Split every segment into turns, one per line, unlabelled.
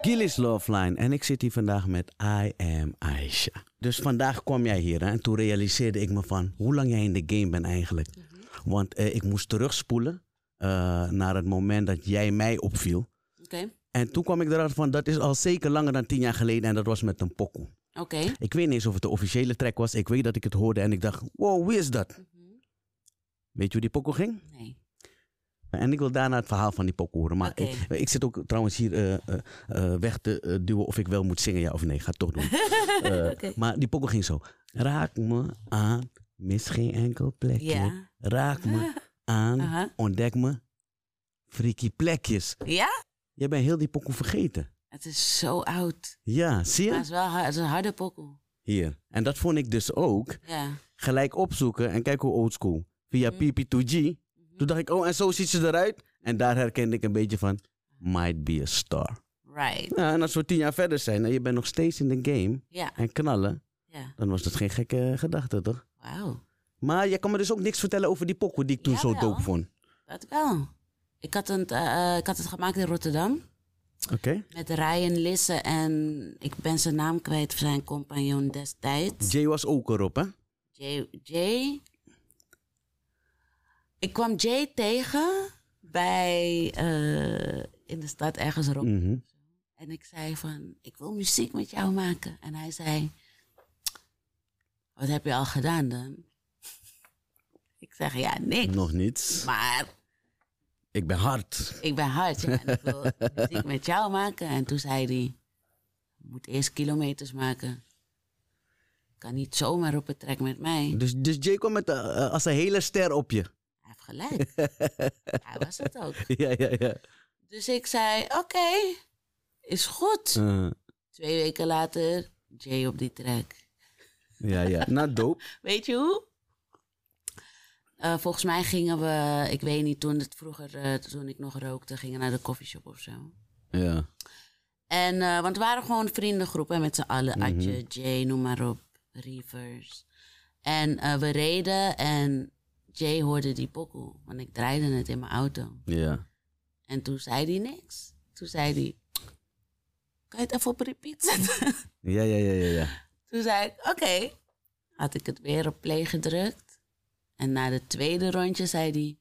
Gillis Loveline en ik zit hier vandaag met I Am Aisha. Dus vandaag kwam jij hier hè, en toen realiseerde ik me van hoe lang jij in de game bent eigenlijk.
Mhm.
Want eh, ik moest terugspoelen eh, naar het moment dat jij mij opviel.
Oké, oké.
En toen kwam ik erachter van dat is al zeker langer dan tien jaar geleden en dat was met een pokoe. Ik weet niet eens of het de officiële track was. Ik weet dat ik het hoorde en ik dacht, wow, wie is dat?
Mhm.
Weet je hoe die pokoe ging?
Nee.
En ik wil daarna het verhaal van die pokoe horen. Maar
Oké.
ik, ik zit ook trouwens hier eh, eh, eh, weg te eh, duwen of ik wel moet zingen, ja of nee. Ga het toch doen. Eh,
Oké.
Maar die pokoe ging zo. Raak me aan, mis geen enkel plekje.
Ja. Ah.
Raak me aan,
Aha.
ontdek me, freaky plekjes.
Ja?
Jij bent heel die pokoe vergeten.
Het is zo oud.
Ja, zie
Maar
je?
het is wel hard, het is een harde pokkel.
Hier. En dat vond ik dus ook.
Ja.
Gelijk opzoeken en kijk hoe oldschool. Via
Mhm.
PP2G. Toen dacht ik, oh, en zo ziet ze eruit. En daar herkende ik een beetje van, might be a star.
Right.
Nou, en als we tien jaar verder zijn en je bent nog steeds in de game
Ja.
en knallen,
Ja.
dan was dat geen gekke gedachte, toch?
Wauw.
Maar jij kan me dus ook niks vertellen over die pokoe die ik toen zo
Jawel.
dope vond.
Dat wel. Ik had, het, eh, eh, ik had het gemaakt in Rotterdam.
Oké.
Met Ryan Lisse en ik ben zijn naam kwijt, zijn compagnon destijds.
Jay was ook erop, hè?
Jay, Jay. Ik kwam Jay tegen bij, eh, in de stad ergens rond.
Mhm.
En ik zei van, ik wil muziek met jou maken. En hij zei, wat heb je al gedaan dan? Ik zeg, ja, niks.
Nog niets.
Maar
Ik ben hard.
ik ben hard ja, en ik wil muziek met jou maken. En toen zei hij, je moet eerst kilometers maken. Kan niet zomaar op het trek met mij.
Dus, dus Jay kwam met, eh, eh, als een hele ster op je.
Hij heeft gelijk. hij was het ook.
ja, ja, ja.
Dus ik zei, oké, is goed.
Eh,
Twee weken later, Jay op die track.
ja, ja. Nou, dope.
Weet je hoe? Eh, volgens mij gingen we, ik weet niet, toen het vroeger, eh, toen ik nog rookte, gingen we naar de coffeeshop of zo.
Ja.
En, eh, want we waren gewoon een vriendengroep hè, met z'n allen. Adje, Jay, noem maar op, Reavers. En eh, we reden en Jay hoorde die pokoe, want ik draaide het in mijn auto.
Ja.
En toen zei hij niks. Toen zei hij, kan je het even op repeat zetten?
Ja, ja, ja, ja. ja.
Toen zei ik, oké. Had ik het weer op play gedrukt. En na de tweede rondje zei hij,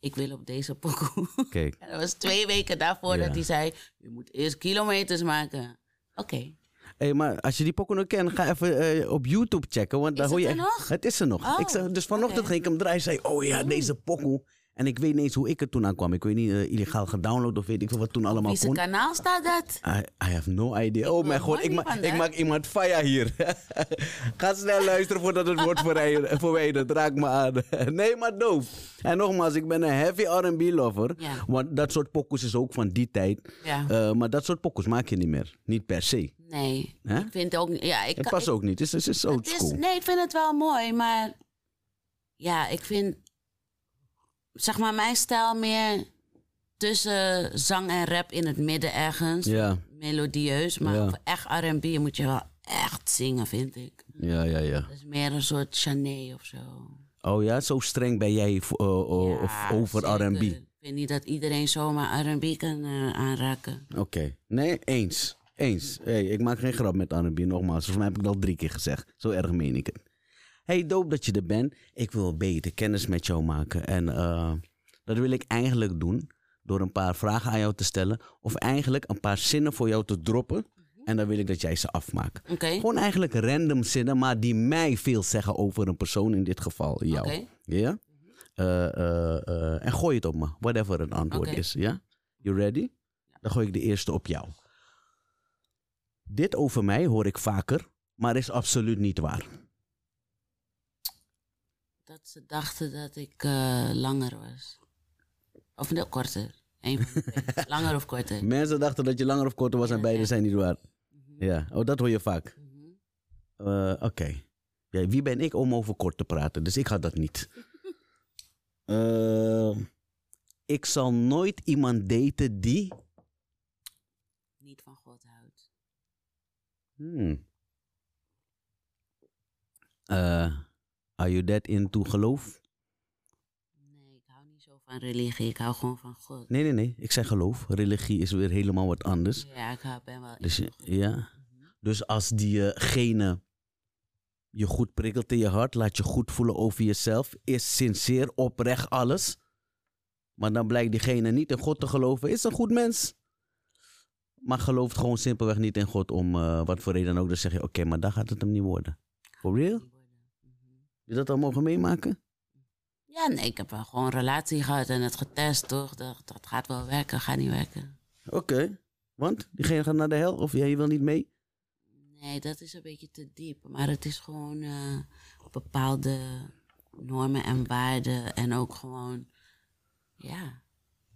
ik wil op deze pokoe.
Kijk.
En dat was twee weken daarvoor
Ja.
dat hij zei, je moet eerst kilometers maken. Oké,
Hey, maar als je die pokken nog kent, ga even eh, op YouTube checken. Want daar
Is
hoor
het
je
er
echt-
nog?
Het is er nog.
Oh,
ik zag, dus vanochtend
oké.
ging ik hem draaien en zei, oh ja, deze pokoe. En ik weet niet eens hoe ik er toen aan kwam. Ik weet niet, eh, illegaal gedownload of weet ik veel wat toen allemaal
wie zijn
kon.
kanaal staat dat?
I, I have no idea. oh mijn god,
hoor
ik,
niet
ma-
van,
ik
hè?
maak iemand fire hier. Ga snel luisteren voordat het wordt verrij- verwijderd. Raak me aan. nee, maar doof. En nogmaals, ik ben een heavy R&B lover.
Ja.
Want dat soort pokoes is ook van die tijd.
Ja.
Eh, maar dat soort pokoes maak je niet meer. Niet per se.
Nee,
Hè?
ik vind ook niet. Ja, ik
Het
kan-
past ook niet. Het is, het is old
Het is-
school.
nee, ik vind het wel mooi, maar ja, ik vind zeg maar mijn stijl meer tussen zang en rap in het midden ergens.
Ja,
Melodieus, maar
Ja.
voor echt R&B moet je wel echt zingen, vind ik.
ja, ja, ja.
Dat is meer een soort Chané of zo.
Oh ja, zo streng ben jij vo- eh, eh,
Ja,
of over
zeker.
R&B.
Ik vind niet dat iedereen zomaar R&B kan eh, aanraken.
Oké. Nee, eens. Eens. Hey, ik maak geen grap met R&B, nogmaals. Volgens mij heb ik dat al drie keer gezegd. Zo erg meen ik het. Hey, doop dat je er bent. Ik wil beter kennis met jou maken. En eh, dat wil ik eigenlijk doen door een paar vragen aan jou te stellen. Of eigenlijk een paar zinnen voor jou te droppen. En dan wil ik dat jij ze afmaakt.
Oké,
Gewoon eigenlijk random zinnen, maar die mij veel zeggen over een persoon, in dit geval jou.
Oké.
Ja? Eh, eh, eh, en gooi het op me, whatever het antwoord
Oké.
is. Ja? You ready? Dan gooi ik de eerste op jou. Dit over mij hoor ik vaker, maar is absoluut niet waar.
dat ze dachten dat ik eh, langer was. Of nee, korter. Eén van de twee. langer of korter.
Mensen dachten dat je langer of korter was en beide zijn niet waar. Ja, oh, dat hoor je vaak.
Mhm.
Eh, Oké. Ja, wie ben ik om over kort te praten? Dus ik had dat niet. Eh, ik zal nooit iemand daten die.
niet van God houdt.
Hmm. Eh, are you that into geloof?
Nee, ik hou niet zo van van religie. Ik hou gewoon van God.
Nee, nee, nee. Ik zeg geloof. Religie is weer helemaal wat anders.
Ja, ik hou- ben wel.
Dus, je- ja.
Mhm.
dus als diegene je goed prikkelt in je hart, laat je goed voelen over jezelf, is sinceer, oprecht alles. Maar dan blijkt diegene niet in God te geloven, is een goed mens. Maar gelooft gewoon simpelweg niet in God om eh, wat voor reden dan ook. Dan zeg je, oké, maar daar gaat het hem niet worden. For real? Heb
Mhm.
je dat al mogen meemaken?
Ja, nee, ik heb wel gewoon een relatie gehad en het getest, toch? Dat, dat gaat wel werken, gaat niet werken.
Oké. Want diegene gaat naar de hel of jij wil niet mee?
Nee, dat is een beetje te diep. Maar het is gewoon eh, bepaalde normen en waarden. En ook gewoon, ja,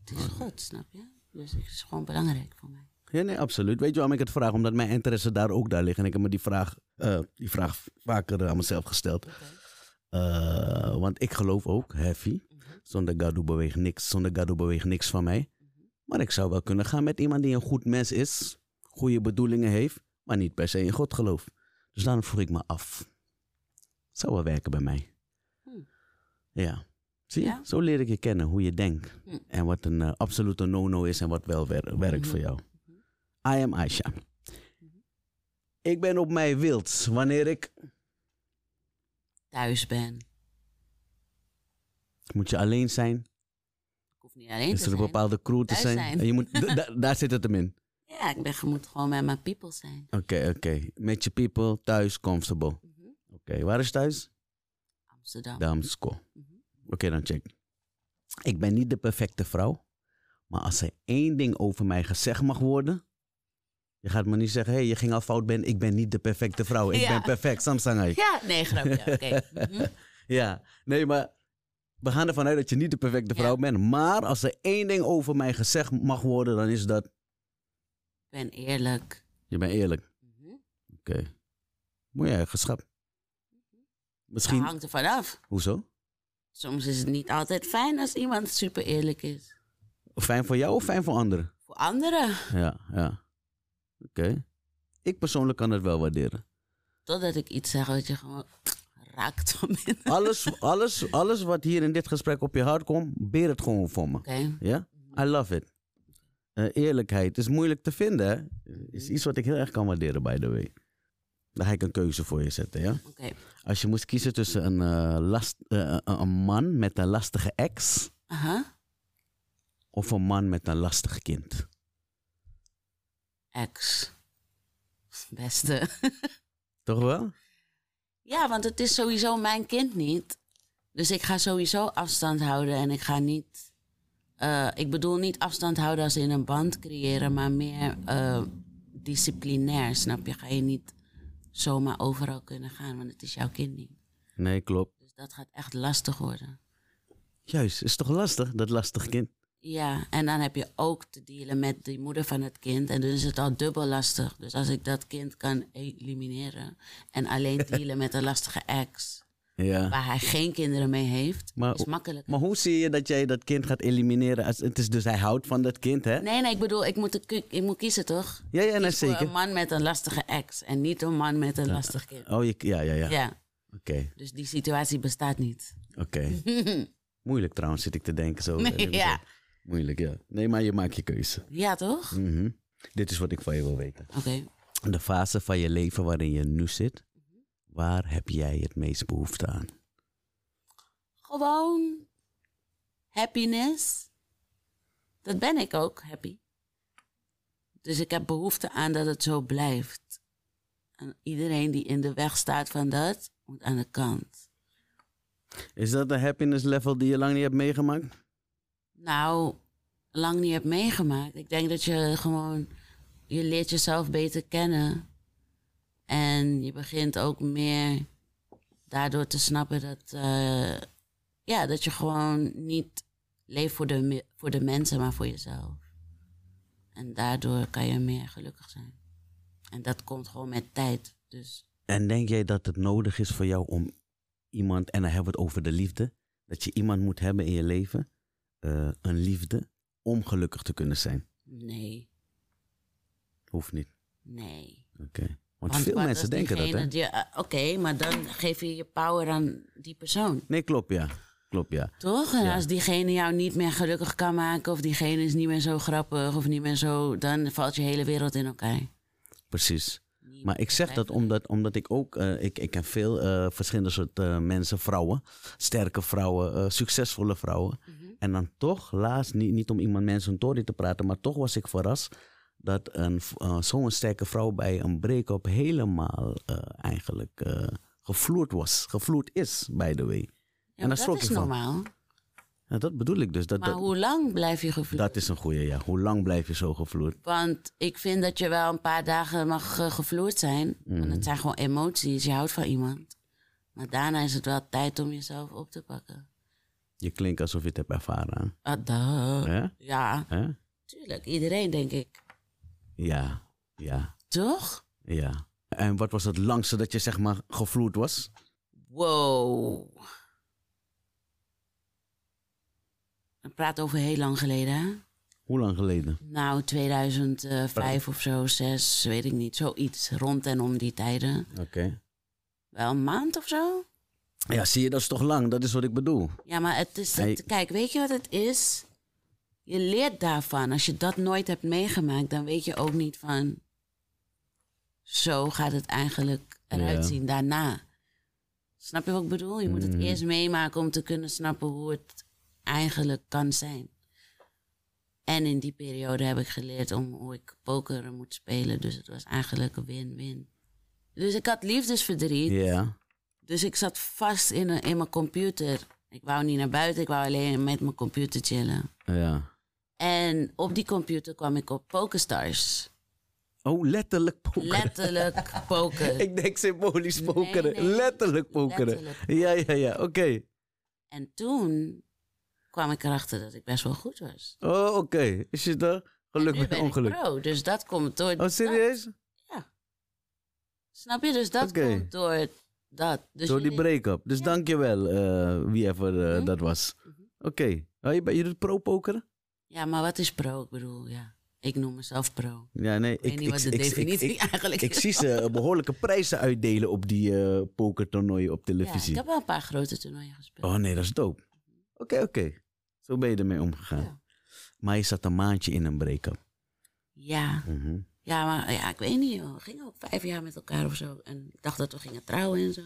het is God, snap je? Dus het is gewoon belangrijk voor mij.
Ja, nee, absoluut. Weet je waarom ik het vraag? Omdat mijn interesse daar ook daar liggen. En ik heb me die vraag, eh, die vraag vaker aan mezelf gesteld. Eh, want ik geloof ook, heavy. Zonder Gadu beweegt niks. Zonder Gadu beweegt niks van mij.
Mhm.
Maar ik zou wel kunnen gaan met iemand die een goed mens is. Goede bedoelingen heeft. Maar niet per se in God gelooft. Dus daarom vroeg ik me af. Het zou wel werken bij mij.
Hmm.
Ja. Zie je?
Ja?
Zo leer ik je kennen, hoe je denkt.
Hmm.
En wat een eh, absolute no-no is en wat wel wer- werkt voor
Mhm.
jou. I am Aisha. Ik ben op mij wild wanneer ik...
Thuis ben.
Moet je alleen zijn?
Ik hoef niet alleen te
Is er
zijn.
een bepaalde crew te
Thuis
zijn?
zijn.
En je moet, da- da- daar zit het hem in.
Ja, ik ben, je moet gewoon met mijn people zijn.
Oké, oké. Met je people, thuis, comfortable. Oké,
Mhm.
waar is thuis?
Amsterdam.
Damsko.
Mhm.
Oké, dan check. Ik ben niet de perfecte vrouw. Maar als er één ding over mij gezegd mag worden... Je gaat me niet zeggen, hé, hey, je ging al fout, ben. ik ben niet de perfecte vrouw. Ik
Ja.
ben perfect, Samsangai.
Ja, nee, grapje. Oké. Mhm.
Ja, nee, maar we gaan ervan uit dat je niet de perfecte
Ja.
vrouw bent. Maar als er één ding over mij gezegd mag worden, dan is dat...
Ik ben eerlijk.
Je bent eerlijk.
Mhm.
Oké. Mooi eigen schap.
Dat
Misschien...
hangt er vanaf.
Hoezo?
Soms is het niet altijd fijn als iemand super eerlijk is.
Fijn voor jou of fijn voor anderen?
Voor anderen.
Ja, ja. Oké. Ik persoonlijk kan het wel waarderen.
Totdat ik iets zeg wat je gewoon raakt van binnen. Oké.
Alles, alles, alles wat hier in dit gesprek op je hart komt, beer het gewoon voor me. Ja? I love it. Eh, eerlijkheid is moeilijk te vinden, hè? Is iets wat ik heel erg kan waarderen, by the way. Daar ga ik een keuze voor je zetten, ja?
Oké.
Als je moest kiezen tussen een, eh, last, eh, eh, een man met een lastige ex
Aha.
of een man met een lastig kind.
Ex. Beste.
Toch wel?
Ja, want het is sowieso mijn kind niet. Dus ik ga sowieso afstand houden en ik ga niet. eh, ik bedoel niet afstand houden als in een band creëren, maar meer eh, disciplinair, snap je? Ga je niet zomaar overal kunnen gaan, want het is jouw kind niet.
Nee, klopt.
Dus dat gaat echt lastig worden.
Juist, is toch lastig, dat lastig kind?
Ja, en dan heb je ook te dealen met de moeder van het kind. En dus is het al dubbel lastig. Dus als ik dat kind kan elimineren en alleen dealen met een lastige ex,
Ja.
waar hij geen kinderen mee heeft,
Maar-
is makkelijk.
Maar hoe zie je dat jij dat kind gaat elimineren? Als, het is dus hij houdt van dat kind, hè?
Nee, nee, ik bedoel, ik moet, de ku- ik moet kiezen, toch?
Ja, ja, nee,
Kies voor
zeker.
Een man met een lastige ex en niet een man met een lastig kind.
Oh, je, ja, ja, ja.
Ja.
Oké, oké.
dus die situatie bestaat niet.
Moeilijk trouwens, zit ik te denken zo.
Nee, ja.
Moeilijk, ja. Nee, maar je maakt je keuze.
Ja, toch?
Mhm. Dit is wat ik van je wil weten.
Oké.
De fase van je leven waarin je nu zit, waar heb jij het meest behoefte aan?
Gewoon happiness. Dat ben ik ook, happy. Dus ik heb behoefte aan dat het zo blijft. En iedereen die in de weg staat van dat, moet aan de kant.
Is dat een happiness level die je lang niet hebt meegemaakt?
Nou, lang niet hebt meegemaakt. Ik denk dat je gewoon, je leert jezelf beter kennen. En je begint ook meer daardoor te snappen dat, eh, ja, dat je gewoon niet leeft voor de, me- voor de mensen, maar voor jezelf. En daardoor kan je meer gelukkig zijn. En dat komt gewoon met tijd. Dus
En denk jij dat het nodig is voor jou om iemand, en dan hebben we het over de liefde, dat je iemand moet hebben in je leven, eh, een liefde, om gelukkig te kunnen zijn?
nee,
Hoeft niet.
nee.
Oké. Want, veel
wat
mensen
als
denken dat,
diegene
hè?
die- eh, Oké, maar dan geef je je power aan die persoon.
Nee, klopt, ja. klopt, ja.
Toch? En als diegene jou niet meer gelukkig kan maken, of diegene is niet meer zo grappig, of niet meer zo, dan valt je hele wereld in elkaar.
Precies.
Niet
Maar ik zeg dat
begrijpelijk.
omdat, omdat ik ook, eh, ik, ik ken veel eh, verschillende soort eh, mensen, vrouwen, sterke vrouwen, eh, succesvolle vrouwen.
Mhm.
En dan toch, laatst, niet, niet om iemand mensen toren te praten, maar toch was ik verrast dat een v- eh, zo'n sterke vrouw bij een break-up helemaal eh, eigenlijk eh gevloerd was. Gevloerd is, by the way.
Ja,
en
maar
daar schrok
dat is
ik van.
normaal.
Ja, dat bedoel ik dus. Dat,
Maar
dat,
hoe lang blijf je gevloerd?
dat is een goede, ja. Hoe lang blijf je zo gevloerd?
Want ik vind dat je wel een paar dagen mag eh, gevloerd zijn.
Mhm.
Want het zijn gewoon emoties. Je houdt van iemand. Maar daarna is het wel tijd om jezelf op te pakken.
Je klinkt alsof je het hebt ervaren.
Ah, duh.
Hè?
Ja,
Hè?
tuurlijk. Iedereen, denk ik.
Ja, ja.
Toch?
Ja. En wat was het langste dat je zeg maar gevloerd was?
Wow. We praten over heel lang geleden, hè?
Hoe lang geleden?
Nou, 2005 of zo, 6, weet ik niet. Zoiets rond en om die tijden.
Oké.
Wel een maand of zo?
Ja, zie je, dat is toch lang? Dat is wat ik bedoel.
Ja, maar het is. het-
Hij-
Kijk, weet je wat het is? Je leert daarvan. Als je dat nooit hebt meegemaakt, dan weet je ook niet van. Zo gaat het eigenlijk eruit
Ja.
zien daarna. Snap je wat ik bedoel? Je moet het
Mhm.
eerst meemaken om te kunnen snappen hoe het eigenlijk kan zijn. En in die periode heb ik geleerd om hoe ik poker moet spelen. Dus het was eigenlijk een win-win. Dus ik had liefdesverdriet.
Ja.
Dus ik zat vast in, een- in mijn computer. Ik wou niet naar buiten, ik wou alleen met mijn computer chillen.
Ja.
En op die computer kwam ik op PokerStars.
Oh, letterlijk pokeren.
Letterlijk poker.
ik denk symbolisch
Nee,
pokeren.
nee.
Letterlijk pokeren.
Letterlijk.
Ja, ja, ja. Oké.
En toen kwam ik erachter dat ik best wel goed was.
Oh, oké. Is je daar? Geluk
Nu
met
ben
ongeluk.
ik pro, dus dat komt door...
Oh, serieus?
Snap je? Dus dat
Oké.
komt door dat. Dus
Door die
jullie- Mhm.
break-up. Dus dankjewel, eh, wie even eh, dat was. Oké. Oh, je, bent- je doet pro-pokeren?
Ja, maar wat is pro? Ik bedoel, ja. Ik noem mezelf pro.
Ja, nee.
Ik weet niet wat de definitie
ik-
eigenlijk
ik
is.
zie ze behoorlijke prijzen uitdelen op die eh, pokertoernooien op
Ja,
televisie.
ik heb wel een paar grote toernooien gespeeld.
Oh nee, dat is dope. Oké, oké. Zo ben je ermee omgegaan.
Ja.
Maar je zat een maandje in een break-up.
Ja.
Mhm.
Ja, maar ja, ik weet niet. Joh. We gingen ook vijf jaar met elkaar of zo. En ik dacht dat we gingen trouwen en zo.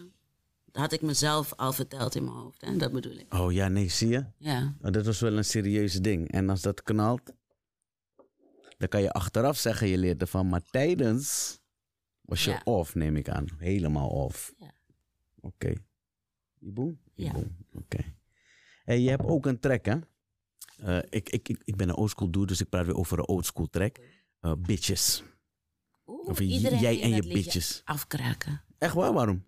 Dat had ik mezelf al verteld in mijn hoofd. Hè? Dat bedoel ik.
Oh ja, nee, zie je?
Ja.
Oh, dat was wel een serieus ding. En als dat knalt, dan kan je achteraf zeggen je leert ervan. Maar tijdens was je
Ja.
off, neem ik aan. Helemaal off.
Ja.
Oké. Iboe?
Ja.
Iboe, Oké. Hey, je hebt ook een track, hè? Eh, ik, ik, ik, ik ben een oldschool dude, dus ik praat weer over een oldschool track. Eh, bitches.
Oeh,
Of j- jij
ging
en je
dat liedje
bitches.
Afkraken.
Echt waar, waarom?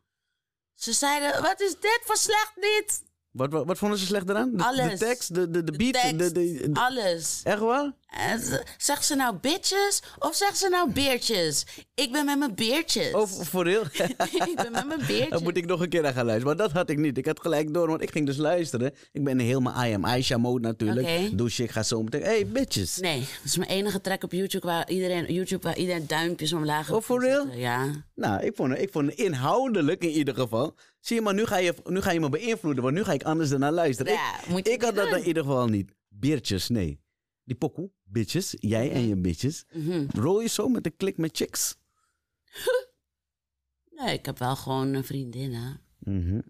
Ze zeiden, wat is dit voor slecht lied?
Wat, wat, wat vonden ze slecht eraan? De,
Alles.
De tekst, de, de, de beat?
tekst,
de, de, de-
Alles.
echt waar?
En ze- Zegt ze nou bitches of zegt ze nou beertjes? Ik ben met mijn beertjes.
Of voor heel?
ik ben met mijn beertjes.
Dan moet ik nog een keer naar gaan luisteren. Maar dat had ik niet. Ik had gelijk door, want ik ging dus luisteren. Ik ben helemaal I am Aisha mode natuurlijk.
Oké.
Douche, ik ga zo meteen... Hey, bitches.
Nee, dat is mijn enige track op YouTube waar iedereen, YouTube waar iedereen duimpjes omlaag
Oh, for real?
zetten. Ja.
Nou, ik vond, het- ik vond het inhoudelijk in ieder geval. Zie je, maar nu ga je, nu ga je me beïnvloeden, want nu ga ik anders ernaar luisteren.
Ja,
ik
moet je
ik had
niet
dat
doen.
in ieder geval niet. Beertjes, nee. Die pokoe, bitches, jij en je bitches.
Mhm.
Rol je zo met een klik met chicks?
Nee, ik heb wel gewoon een vriendin, hè.
Mhm.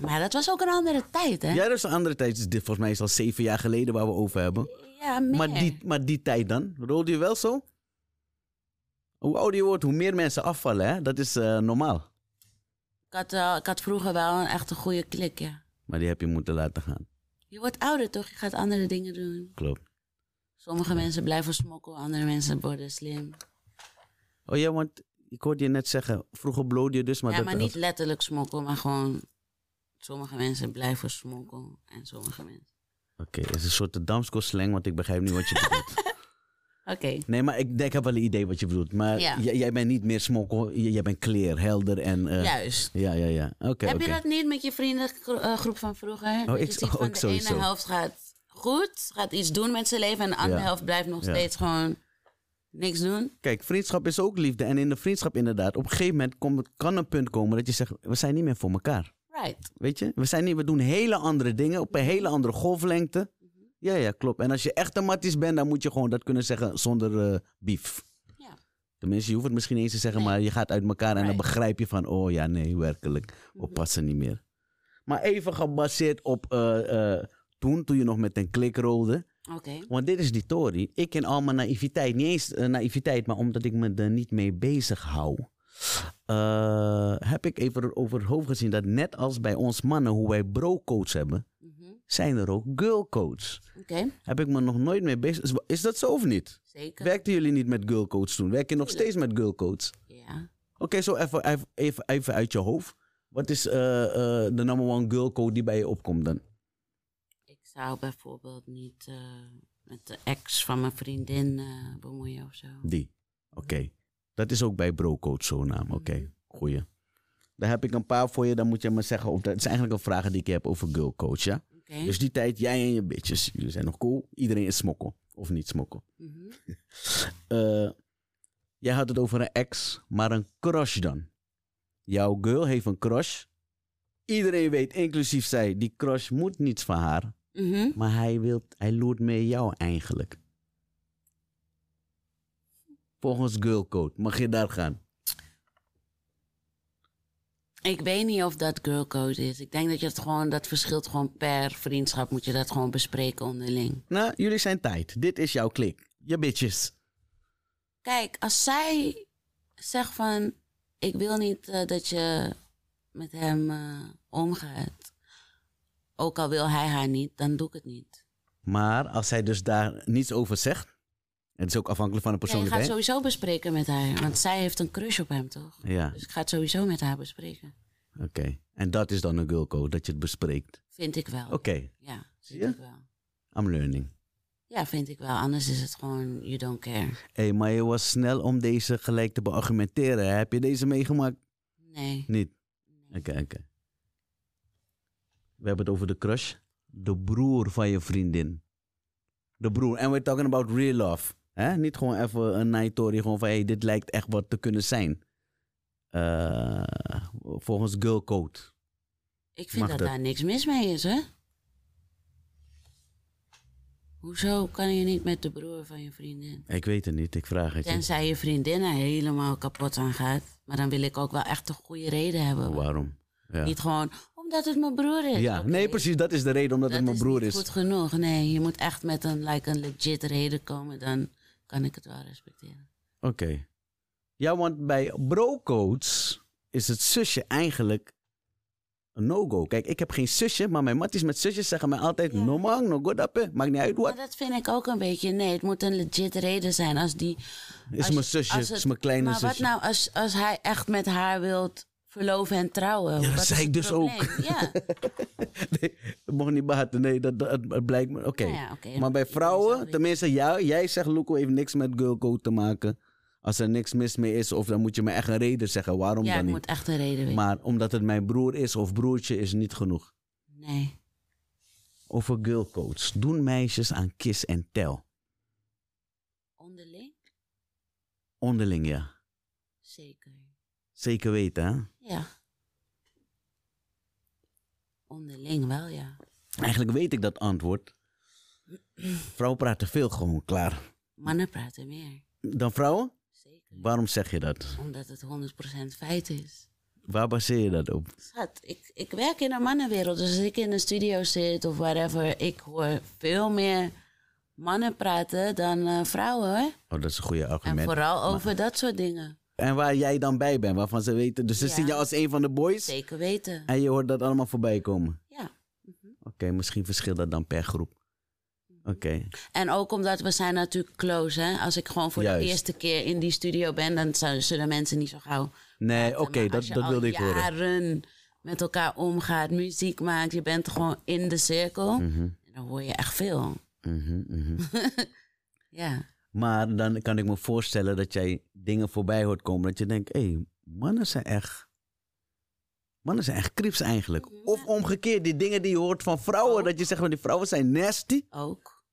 Maar dat was ook een andere tijd, hè?
Ja, dat is een andere tijd. Dus dit volgens mij is al zeven jaar geleden waar we over hebben.
Ja, meer.
Maar die, maar die tijd dan? Rolde je wel zo? Hoe ouder je wordt, hoe meer mensen afvallen, hè? Dat is eh, normaal.
ik, had, wel- ik had vroeger wel een echt een goede klik, ja.
Maar die heb je moeten laten gaan.
Je wordt ouder, toch? Je gaat andere dingen doen.
Klopt.
Sommige mensen blijven smokkel, andere mensen worden slim.
Oh ja, want ik hoorde je net zeggen, vroeger blode je dus, maar
ja,
dat...
maar niet letterlijk smokkel, maar gewoon... Sommige mensen blijven smokkel en sommige mensen...
Oké, het is een soort damsko slang, want ik begrijp niet wat je bedoelt.
Oké.
Nee, maar ik, denk, ik heb wel een idee wat je bedoelt. Maar
Ja.
j- jij bent niet meer smokkel, j- jij bent clear, helder en... eh,
Juist.
Ja, ja, ja. Oké, oké.
Heb je dat niet met je vriendengroep van vroeger? Dat
ik-
je ziet
oh,
van
ik
de
sowieso.
ene helft gaat goed, gaat iets doen met zijn leven... en de andere
Ja.
helft blijft nog
Ja.
steeds gewoon niks doen.
Kijk, vriendschap is ook liefde. En in de vriendschap inderdaad, op een gegeven moment komt, kan een punt komen dat je zegt, we zijn niet meer voor elkaar.
Right.
Weet je? We, zijn hier, we doen hele andere dingen op een hele andere golflengte.
Mhm.
Ja, ja, klopt. En als je echt een matties bent, dan moet je gewoon dat kunnen zeggen zonder eh beef.
Ja.
Tenminste, je hoeft het misschien niet eens te zeggen,
Nee.
maar je gaat uit elkaar en dan
Right.
begrijp je van, oh ja, nee, werkelijk. We
Mhm.
passen niet meer. Maar even gebaseerd op eh, eh, toen, toen je nog met een klik rolde.
Oké.
Want dit is die Tory. Ik in al mijn naïviteit, niet eens eh, naïviteit, maar omdat ik me er niet mee bezig hou. eh, heb ik even over het hoofd gezien dat net als bij ons mannen, hoe wij bro-coach hebben,
Mhm.
zijn er ook girl-coach.
Oké,
Heb ik me nog nooit mee bezig. is- Is dat zo of niet?
zeker.
Werkten jullie niet met girlcoach toen? Werk je nog steeds met girlcoach?
Ja.
Oké, zo even, even, even, even uit je hoofd. Wat is eh, eh, de number one girlcoach die bij je opkomt dan?
Ik zou bijvoorbeeld niet eh, met de ex van mijn vriendin eh, bemoeien of zo.
Die. Oké. Dat is ook bij brocoach zo'n naam. Oké, goeie. Daar heb ik een paar voor je, dan moet je me zeggen. Of dat het zijn eigenlijk al vragen die ik heb over girlcoach, ja?
Oké.
Dus die tijd, jij en je bitches. Jullie zijn nog cool. Iedereen is smokkel. Of niet smokkel.
Mhm.
Eh, jij had het over een ex, maar een crush dan. Jouw girl heeft een crush. Iedereen weet, inclusief zij, die crush moet niets van haar.
Mhm.
Maar hij, wil, hij loert mee jou eigenlijk. Volgens girlcode mag je daar gaan.
Ik weet niet of dat girlcode is. Ik denk dat je het gewoon, dat verschilt gewoon per vriendschap, moet je dat gewoon bespreken onderling.
Nou, jullie zijn tijd. Dit is jouw klik. Je bitches.
Kijk, als zij zegt van, ik wil niet eh, dat je met hem eh, omgaat, ook al wil hij haar niet, dan doe ik het niet.
Maar als hij dus daar niets over zegt. Het is ook afhankelijk van de
Ja, je gaat
persoonlijkheid.
het sowieso bespreken met haar, want zij heeft een crush op hem, toch?
Ja,
Dus ik ga het sowieso met haar bespreken.
oké. En dat is dan een girlcode, dat je het bespreekt.
Vind ik wel.
Oké,
Ja, vind
je?
ik wel.
I'm learning.
Ja, vind ik wel. Anders is het gewoon, you don't care.
Hé, hey, maar je was snel om deze gelijk te beargumenteren. hè? Heb je deze meegemaakt?
Nee.
Niet? Oké, oké. We hebben het over de crush. De broer van je vriendin. De broer. En we're talking about real love. hè? Niet gewoon even een night story. Gewoon van, hey, dit lijkt echt wat te kunnen zijn. Eh, volgens Girl Code.
Ik vind
Mag
dat
dat?
daar niks mis mee is, hè? Hoezo kan je niet met de broer van je vriendin?
Ik weet het niet, ik vraag het je.
Tenzij je vriendin er helemaal kapot aan gaat. Maar dan wil ik ook wel echt een goede reden hebben.
Waarom? Ja.
Niet gewoon omdat het mijn broer is.
ja,
Oké,
nee, precies. Dat is de reden omdat
Dat
het mijn broer
niet
is.
goed genoeg. Nee, je moet echt met een, like, een legit reden komen. Dan kan ik het wel respecteren.
Oké. Ja, want bij brocodes is het zusje eigenlijk een no-go. Kijk, ik heb geen zusje, maar mijn matties met zusjes zeggen mij altijd...
Ja.
No man, no good up, eh. maakt niet uit
Maar
wat.
dat vind ik ook een beetje. Nee, het moet een legit reden zijn. Als die
Is
Als-
mijn zusje,
als het-
is mijn kleine
maar
zusje.
wat nou als, als hij echt met haar wilt verloven en trouwen?
dat
Wat
zei
is
ik
het
dus
probleem?
ook.
Ja,
nee, het mocht niet baten, nee, dat, dat, het blijkt me... Oké,
Nou ja, oké,
maar
dan
bij
moet je zelf
vrouwen,
weten.
tenminste, jou, jij zegt... Loeko heeft niks met girlcode te maken. Als er niks mis mee is, of dan moet je me echt een reden zeggen. Waarom
ja
dan
ik
niet?
moet echt een reden weten.
Maar omdat het mijn broer is of broertje is niet genoeg.
Nee.
Over girlcodes. Doen meisjes aan kiss en tel.
Onderling?
Onderling, ja.
Zeker.
Zeker weten, hè?
Ja. Onderling wel, ja.
Eigenlijk weet ik dat antwoord. Vrouwen praten veel gewoon klaar.
Mannen praten meer.
Dan vrouwen?
Zeker.
Waarom zeg je dat?
Omdat het 100% feit is.
Waar baseer je dat op?
Schat, ik, ik werk in een mannenwereld. Dus als ik in een studio zit of whatever, ik hoor veel meer mannen praten dan eh, vrouwen hoor.
Oh, dat is een goede
En
argument.
vooral over dat soort dingen.
En waar jij dan bij bent, waarvan ze weten. Dus ze
Ja.
zien jou als een van de boys.
Zeker weten.
En je hoort dat allemaal voorbij komen.
Ja.
Oké, misschien verschilt dat dan per groep. Oké.
En ook omdat we zijn natuurlijk close, hè. Als ik gewoon voor
Juist.
de eerste keer in die studio ben, dan zou- zullen mensen niet zo gauw...
Nee, oké,
Maar
dat,
als je
dat
al
wilde ik horen.
jaren met elkaar omgaat, muziek maakt, je bent gewoon in de cirkel. Dan hoor je echt veel.
Mhm, mhm.
Ja.
Maar dan kan ik me voorstellen dat jij dingen voorbij hoort komen. Dat je denkt, hé, mannen zijn echt... Mannen zijn echt krips eigenlijk.
Mhm.
Of omgekeerd, die dingen die je hoort van
Oh.
vrouwen. Dat je zegt, van die vrouwen zijn nasty,
Ook.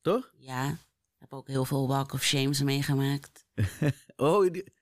toch?
Ja. Ik heb ook heel veel walk of shames meegemaakt.
Oh, die-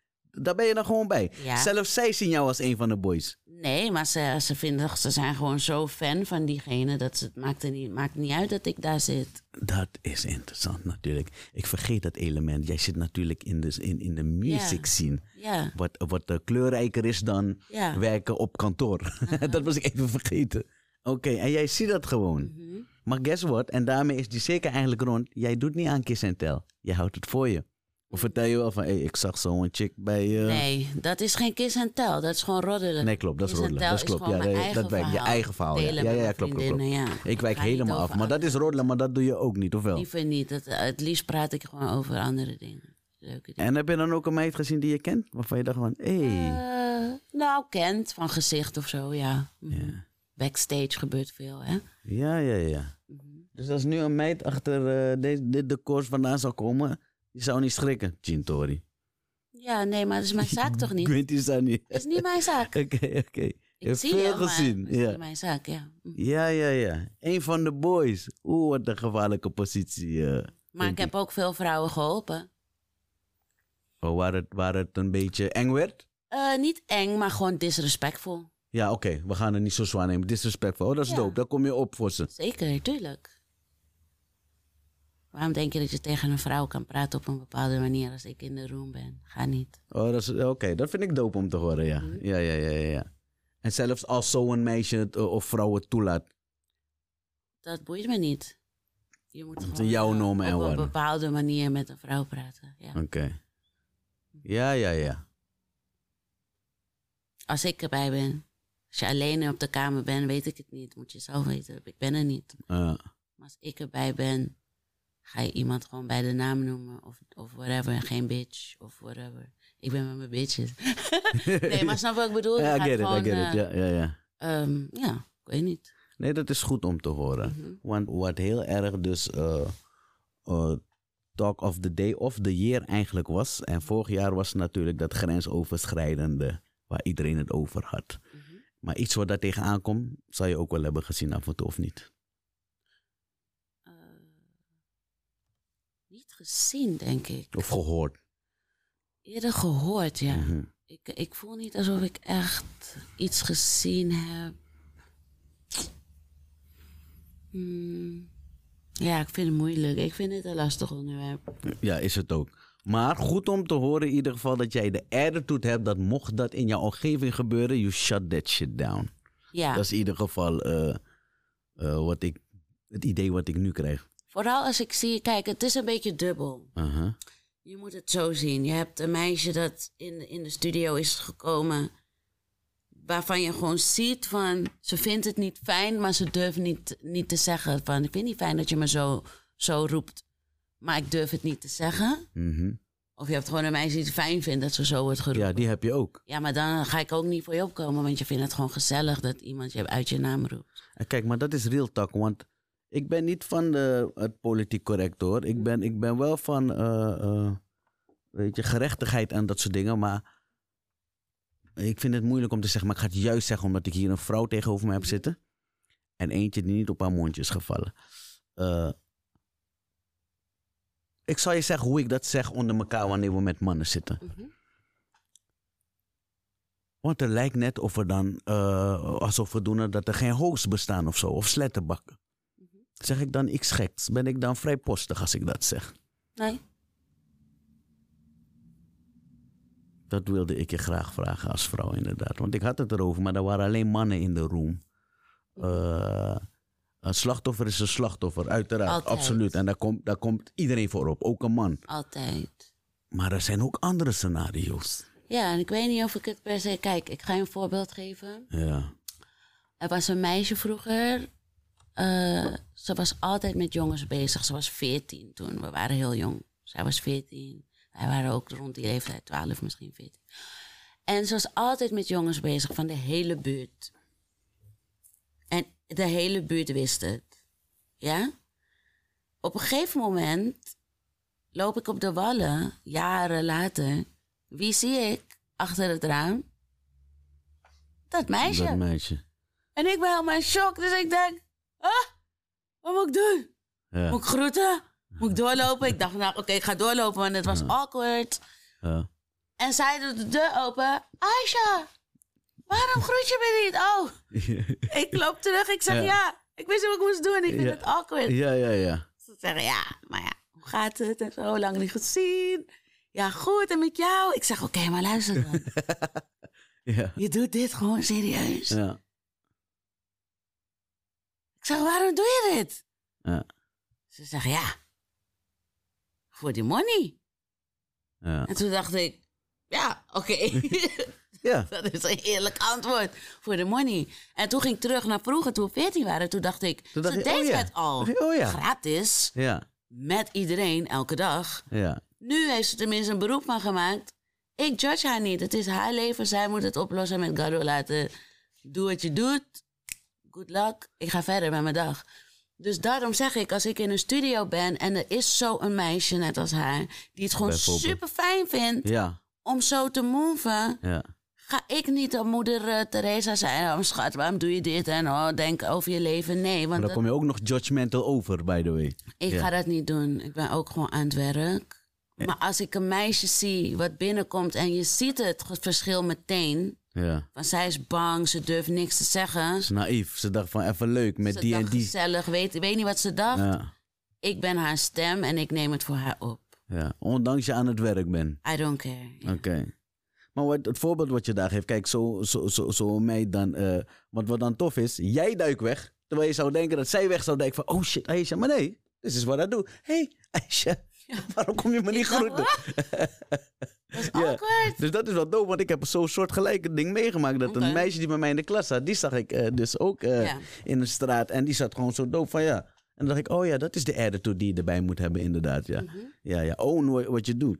Daar ben je dan gewoon bij.
Ja.
Zelfs zij zien jou als een van de boys.
Nee, maar ze, ze, vinden, ze zijn gewoon zo fan van diegene dat ze, het maakt, er niet, maakt niet uit dat ik daar zit.
Dat is interessant natuurlijk. Ik vergeet dat element. Jij zit natuurlijk in de, in, in de music scene.
Ja,
Wat, wat eh, kleurrijker is dan
ja.
werken op kantoor. dat was ik even vergeten. Oké, en jij ziet dat gewoon.
Mhm.
Maar guess what? En daarmee is die zeker eigenlijk rond. Jij doet niet aan kiss en tel. Jij houdt het voor je. Of vertel je wel van, hé, ik zag zo'n chick bij... eh,
Nee, dat is geen kiss en tel. Dat is gewoon roddelen.
Nee, klopt. Dat is
Kiss en
roddelen.
tel
Dat is
is
klopt.
gewoon mijn
ja,
eigen
dat werkt. Je
verhaal.
eigen verhaal. Ja,
Delen
ja,
met
ja,
mijn
klopt, klopt, klopt.
vriendinnen, ja.
Ik wijk
Ga niet
helemaal af.
over
Maar dat is roddelen, maar dat doe je ook niet, of wel?
Liever niet. Dat, eh, het liefst praat ik gewoon over andere dingen. Leuke dingen.
En heb je dan ook een meid gezien die je kent? Waarvan je dacht van, hé...
Eh, nou, kent van gezicht of zo, ja. Mhm.
Ja.
Backstage gebeurt veel, hè?
Ja, ja, ja.
Mhm.
Dus als nu een meid achter eh, deze, dit decor vandaan zou komen, die zou niet schrikken. Chintori.
Ja, nee, maar dat is mijn zaak toch niet?
Quinty zou niet.
Dat is niet mijn zaak.
Oké, oké. Je
Ik
hebt
zie
veel
je, maar
gezien.
dat is niet
Ja.
mijn zaak, ja. Mhm.
ja, ja, ja. Een van de boys. Oeh, wat een gevaarlijke positie. eh.
Maar ik heb ook veel vrouwen geholpen.
Oh, waar, het, waar het een beetje eng werd?
Eh, niet eng, maar gewoon disrespectvol.
Ja, oké. We gaan het niet zo zwaar nemen. Disrespectful. Oh, dat is
Ja.
dope. Daar kom je op voor ze.
Zeker, tuurlijk. Waarom denk je dat je tegen een vrouw kan praten op een bepaalde manier als ik in de room ben? Ga niet.
Oh, dat is oké. Dat vind ik dope om te horen, ja.
Mhm.
Ja, ja, ja, ja. ja. En zelfs als zo'n meisje het, eh, of vrouw het toelaat,
Dat boeit me niet. Je moet
is
gewoon
jouw
eh,
normen en
op een
waarden.
bepaalde manier met een vrouw praten. Ja.
Oké. Ja, ja, ja.
Als ik erbij ben. Als je alleen op de kamer bent, weet ik het niet. Moet je zelf weten. Ik ben er niet.
Eh,
Maar als ik erbij ben, ga je iemand gewoon bij de naam noemen. Of, of whatever. En geen bitch. Of whatever. Ik ben met mijn bitches. nee, maar snap wat ik bedoel? Je
ja, I
gaat
get it, I
gewoon,
get it.
eh,
Ja, ja, ja.
ehm, ja, ik weet niet.
Nee, dat is goed om te horen.
Mhm.
Want wat heel erg dus eh, eh, talk of the day of the year eigenlijk was. En vorig jaar was natuurlijk dat grensoverschrijdende waar iedereen het over had.
Mhm.
Maar iets wat daar tegenaan komt, zou je ook wel hebben gezien af en toe of niet.
Eh, niet gezien, denk ik.
Of gehoord.
Eerder gehoord, ja.
Mhm.
Ik, ik voel niet alsof ik echt iets gezien heb. Hmm. Ja, ik vind het moeilijk. Ik vind het een lastig onderwerp.
Ja, is het ook. Maar goed om te horen in ieder geval dat jij de attitude hebt dat mocht dat in jouw omgeving gebeuren, you shut that shit down.
Ja,
Dat is in ieder geval eh, eh, wat ik, het idee wat ik nu krijg.
vooral als ik zie... Kijk, het is een beetje dubbel.
Aha.
Je moet het zo zien. Je hebt een meisje dat in, in de studio is gekomen. Waarvan je gewoon ziet van ze vindt het niet fijn, maar ze durft niet, niet te zeggen van ik vind het niet fijn dat je me zo, zo roept. Maar ik durf het niet te zeggen.
Mhm.
Of je hebt gewoon een meisje die het fijn vindt dat ze zo wordt geroepen.
Ja,
Ja,
die heb je ook.
maar dan ga ik ook niet voor je opkomen, want je vindt het gewoon gezellig dat iemand je uit je naam roept.
En Eh, kijk, maar dat is real talk, want ik ben niet van de, het politiek correct hoor. Ik ben, ik ben wel van eh, eh, weet je, gerechtigheid en dat soort dingen, maar ik vind het moeilijk om te zeggen, maar ik ga het juist zeggen omdat ik hier een vrouw tegenover me heb zitten en eentje die niet op haar mondje is gevallen. Eh, ik zal je zeggen hoe ik dat zeg onder elkaar wanneer we met mannen zitten. Want het lijkt net of we dan eh, alsof we doen dat er geen hosts bestaan of zo, of slettenbakken.
Mhm.
Zeg ik dan iets geks? Ben ik dan vrijpostig als ik dat zeg?
Nee.
Dat wilde ik je graag vragen als vrouw, inderdaad. Want ik had het erover, maar er waren alleen mannen in de room.
Mhm.
Eh, een slachtoffer is een slachtoffer, uiteraard,
Altijd.
absoluut. En daar komt, daar komt iedereen voor op, ook een man.
Altijd.
Maar er zijn ook andere scenario's.
Ja, en ik weet niet of ik het per se. Kijk, ik ga je een voorbeeld geven.
Ja.
Er was een meisje vroeger. eh, ze was altijd met jongens bezig. Ze was 14 toen. We waren heel jong. Zij was 14. Wij waren ook rond die leeftijd, 12, misschien 14. En ze was altijd met jongens bezig van de hele buurt. En de hele buurt wist het. Ja? Op een gegeven moment loop ik op de wallen, jaren later. Wie zie ik achter het raam? Dat meisje.
Dat meisje.
En ik ben helemaal in shock. Dus ik denk, ah, wat moet ik doen?
Ja.
Moet ik groeten? Moet ik doorlopen? Ik dacht, nou, oké, ik ga doorlopen, want het was awkward.
ja.
En zij doet de deur open. Aisha, waarom groet je me niet? Oh, ik loop terug. Ik zeg
Ja.
ja. Ik wist wat ik moest doen. Ik vind
Ja.
het awkward.
ja, ja, ja.
Ze zeggen ja, maar ja, hoe gaat het? En zo lang niet gezien. Ja, goed. En met jou? Ik zeg oké, maar luister dan.
Ja.
Je doet dit gewoon serieus.
Ja.
Ik zeg, waarom doe je dit?
Ja.
Ze zeggen, ja, voor die money.
Ja.
En toen dacht ik, ja, oké.
Ja.
dat is een eerlijk antwoord voor de money. En toen ging ik terug naar vroeger, toen we 14 waren. Toen dacht ik,
Toen dacht
ze
je, oh
deed
ja.
het al.
Dacht je, oh ja.
Gratis,
Ja.
met iedereen, elke dag.
Ja.
Nu heeft ze tenminste een beroep van gemaakt. Ik judge haar niet. Het is haar leven. Zij moet het oplossen met Gado laten. Doe wat je doet. Good luck. Ik ga verder met mijn dag. Dus daarom zeg ik, als ik in een studio ben en er is zo'n meisje net als haar, die het gewoon
Bijvoorbeeld.
super fijn vindt
Ja.
om zo te moven,
Ja.
ga ik niet op moeder eh, Teresa zijn. Oh schat, waarom doe je dit? En oh, denk over je leven. Nee,
Maar
want
dan
dat-
kom je ook nog judgmental over, by the way.
ik
Ja.
ga dat niet doen. Ik ben ook gewoon aan het werk. Maar als ik een meisje zie wat binnenkomt en je ziet het ge- verschil meteen.
Ja.
Van zij is bang, ze durft niks te zeggen.
Ze is naïef. Ze dacht van even leuk met
ze
die en
dacht
die.
gezellig, weet, weet niet wat ze dacht.
Ja.
Ik ben haar stem en ik neem het voor haar op.
ja. Ondanks je aan het werk bent.
I don't care. Ja.
Oké. Maar wat, het voorbeeld wat je daar geeft, kijk, zo, zo, zo, zo meid dan. eh, want wat dan tof is, jij duikt weg. Terwijl je zou denken dat zij weg zou denken van, oh shit, Aisha, maar nee. Dit is wat ik doe. Hé, hey, Aisha, waarom kom je me niet
dacht,
groeten?
Dat is
Ja.
awkward.
Dus dat is wel doof, want ik heb zo'n soortgelijke ding meegemaakt. Dat een
Oké.
meisje die bij mij in de klas zat, die zag ik eh, dus ook eh,
Ja.
in de straat. En die zat gewoon zo doof van ja. En dan dacht ik, oh ja, dat is de attitude die je erbij moet hebben, inderdaad. Ja,
Mhm.
ja, ja. own wha- wat je doet.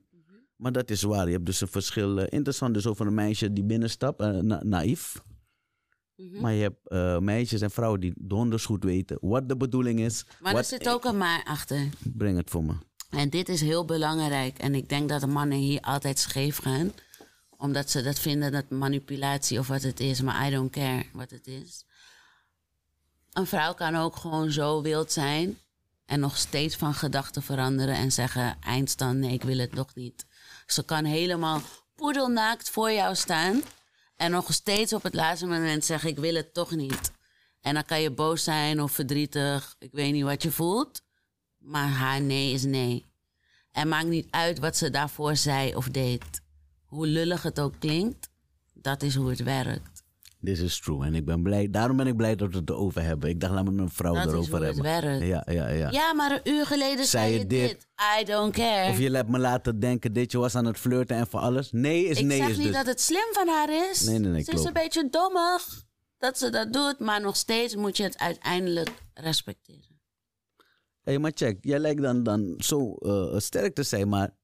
Maar dat is waar, je hebt dus een verschil. eh, interessant dus over een meisje die binnenstapt, eh, na- naïef.
Mhm.
Maar je hebt eh, meisjes en vrouwen die donders goed weten wat de bedoeling is.
Maar er
wat,
zit ook een maar achter.
Breng het voor me.
En dit is heel belangrijk. En ik denk dat de mannen hier altijd scheef gaan. Omdat ze dat vinden, dat manipulatie of wat het is. Maar I don't care wat het is. Een vrouw kan ook gewoon zo wild zijn. En nog steeds van gedachten veranderen. En zeggen, eindstand, nee, ik wil het nog niet. Ze kan helemaal poedelnaakt voor jou staan. En nog steeds op het laatste moment zeggen, ik wil het toch niet. En dan kan je boos zijn of verdrietig. Ik weet niet wat je voelt. Maar haar nee is nee. En maakt niet uit wat ze daarvoor zei of deed. Hoe lullig het ook klinkt, dat is hoe het werkt.
This is true. En ik ben blij, daarom ben ik blij dat we het erover hebben. Ik dacht, laat me een vrouw
Dat is
erover
hoe het
hebben.
werkt.
Ja, ja, ja.
Ja, maar een uur geleden zei je dit. I don't care.
Of je hebt me laten denken dat je was aan het flirten en voor alles. Nee is
ik
nee
zeg
is
niet
dus.
dat het slim van haar is.
Nee, nee, nee,
ze
klopt.
is een beetje dommig dat ze dat doet. Maar nog steeds moet je het uiteindelijk respecteren.
hey, maar check, jij lijkt dan, dan zo eh, sterk te zijn, maar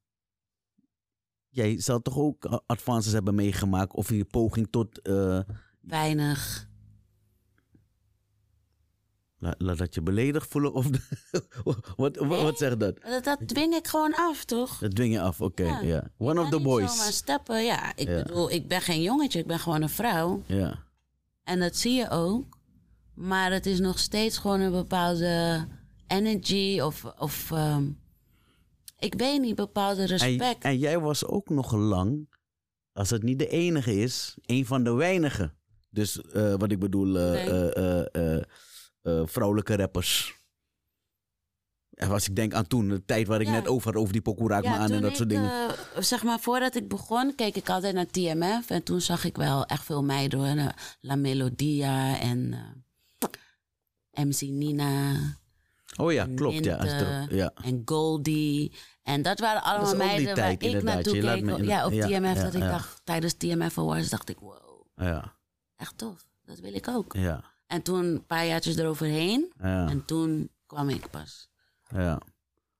jij zal toch ook eh, advances hebben meegemaakt of je poging tot... eh,
Weinig.
la- laat dat je beledigd voelen of... wat, wat, wat zegt dat?
Dat, dat dwing ik gewoon af, toch?
Dat dwing je af, oké, ja.
Ja.
One of
Ik
the
kan niet zomaar
boys.
stappen, ja. Ik
Ja.
bedoel, ik ben geen jongetje, ik ben gewoon een vrouw.
Ja,
En dat zie je ook. Maar het is nog steeds gewoon een bepaalde energy of... of ehm, ik weet niet, bepaalde
en,
respect.
en jij was ook nog lang, als het niet de enige is, een van de weinigen. Dus eh, wat ik bedoel, eh,
Nee.
eh, eh, eh, eh, vrouwelijke rappers. En als ik denk aan toen, de tijd waar ik
Ja.
net over had, over die pokoe raak me aan en
toen
dat
ik,
soort dingen.
eh, zeg maar, voordat ik begon, keek ik altijd naar TMF. En toen zag ik wel echt veel meiden. hoor. Eh, La Melodia en eh, MC Nina eh,
oh ja, klopt. Ja, als het erop-
Minte
ja.
en Goldie. En dat waren allemaal
ook die
meiden
tijd,
waar ik
inderdaad.
naartoe
Je laat
keek.
me in-
ja, op
ja,
TMF.
ja,
dat ik
ja.
dacht, tijdens TMF Awards dacht ik, wow,
Ja,
echt tof. Dat wil ik ook.
ja,
En toen een paar jaartjes eroverheen.
ja,
En toen kwam ik pas.
ja.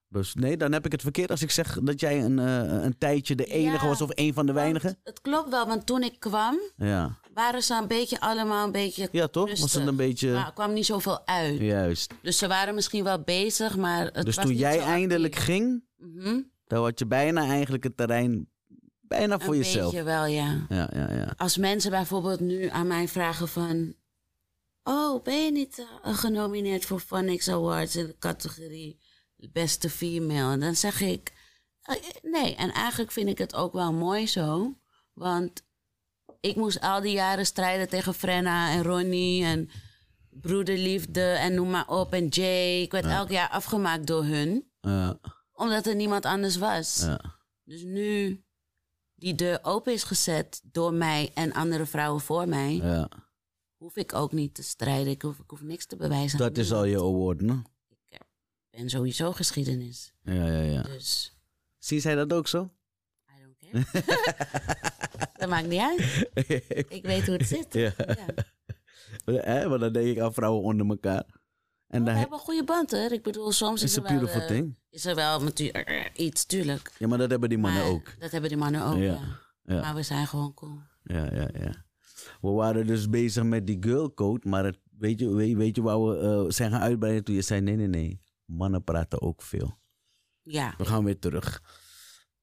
Dus nee, dan heb ik het verkeerd als ik zeg dat jij een, eh, een tijdje de enige
Ja,
was of een van de weinigen.
Want het klopt wel, want toen ik kwam,
Ja,
waren ze een beetje allemaal een beetje...
ja toch? Was
Rustig.
het een beetje...
Maar er kwam niet zoveel uit.
Juist.
Dus ze waren misschien wel bezig, maar het
Dus
was
toen
niet
jij
zo actief.
eindelijk ging,
Mhm,
Dan had je bijna eigenlijk het terrein bijna voor
een
jezelf.
beetje wel, ja.
Ja, ja, ja.
Als mensen bijvoorbeeld nu aan mij vragen van... Oh, ben je niet eh, genomineerd voor Phonics Awards in de categorie beste female? En dan zeg ik... Eh, Nee, en eigenlijk vind ik het ook wel mooi zo. Want ik moest al die jaren strijden tegen Frenna en Ronnie en broederliefde en noem maar op en Jay. Ik werd elk jaar afgemaakt door hun,
Eh,
omdat er niemand anders was.
eh,
Dus nu die deur open is gezet door mij en andere vrouwen voor mij,
ja.
hoef ik ook niet te strijden. Ik hoef, ik hoef niks te bewijzen. aan
Dat is al je award, no?
Ik ben sowieso geschiedenis.
Ja, ja, ja.
Dus
Zien zij dat ook zo?
I don't care. dat maakt niet uit. Ik weet hoe het zit.
ja.
Ja.
Hè, want dan denk ik aan vrouwen onder elkaar. En
We
daar
hebben een goede band, hoor. Ik bedoel, soms is,
is
er
een
wel,
beautiful
eh,
thing.
is er wel natuurlijk eh, iets, tuurlijk.
Ja, maar dat hebben die mannen
Maar
ook.
Dat hebben die mannen ook,
Ja,
ja.
ja.
Maar we zijn gewoon cool.
Ja, ja, ja. We waren dus bezig met die girlcode, maar het, weet, je, weet, weet je waar we eh, zijn gaan uitbreiden toen je zei: nee, nee, nee. Mannen praten ook veel.
Ja,
We gaan weer terug.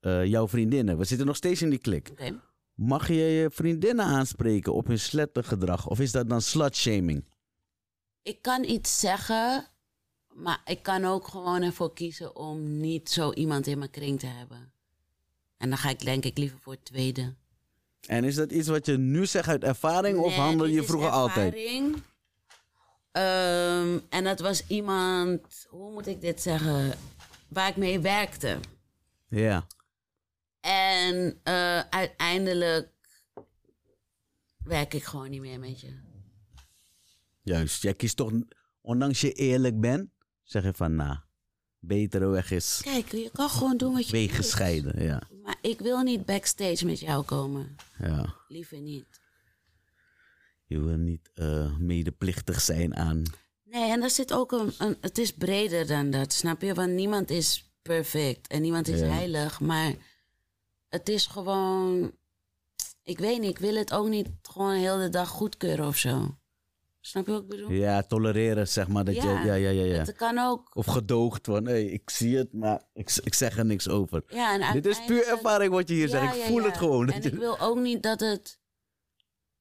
Eh, jouw vriendinnen, we zitten nog steeds in die klik.
oké.
Mag je je vriendinnen aanspreken op hun slettergedrag? Of is dat dan slutshaming?
Ik kan iets zeggen, maar ik kan ook gewoon ervoor kiezen om niet zo iemand in mijn kring te hebben. En dan ga ik denk ik liever voor het tweede.
En is dat iets wat je nu zegt uit ervaring of
Nee,
handel
dit
je
is
vroeger altijd?
ervaring. Ehm, en dat was iemand, hoe moet ik dit zeggen, waar ik mee werkte.
Ja.
En eh, uiteindelijk werk ik gewoon niet meer met je.
Juist, jij kiest toch, ondanks je eerlijk bent, zeg je van nou, betere weg is
Kijk, je kan gewoon doen wat je
weeggescheiden. Ja,
wil. Maar ik wil niet backstage met jou komen.
ja.
Liever niet.
Je wil niet eh, medeplichtig zijn aan.
Nee, en er zit ook een, een- Het is breder dan dat, snap je? Want niemand is perfect en niemand is
Ja.
heilig. Maar het is gewoon. Ik weet niet, ik wil het ook niet gewoon heel de dag goedkeuren of zo. Snap je wat ik bedoel?
Ja, tolereren zeg maar. Dat
Ja.
Je, ja, ja, ja, ja.
Het kan ook.
Of gedoogd van, hé, ik zie het, maar ik, z- ik zeg er niks over.
Ja, en
Dit is puur
uiteindelijk-
ervaring wat je hier
Ja,
zegt. Ik
ja,
voel
ja.
het gewoon.
En ik wil ook niet dat het.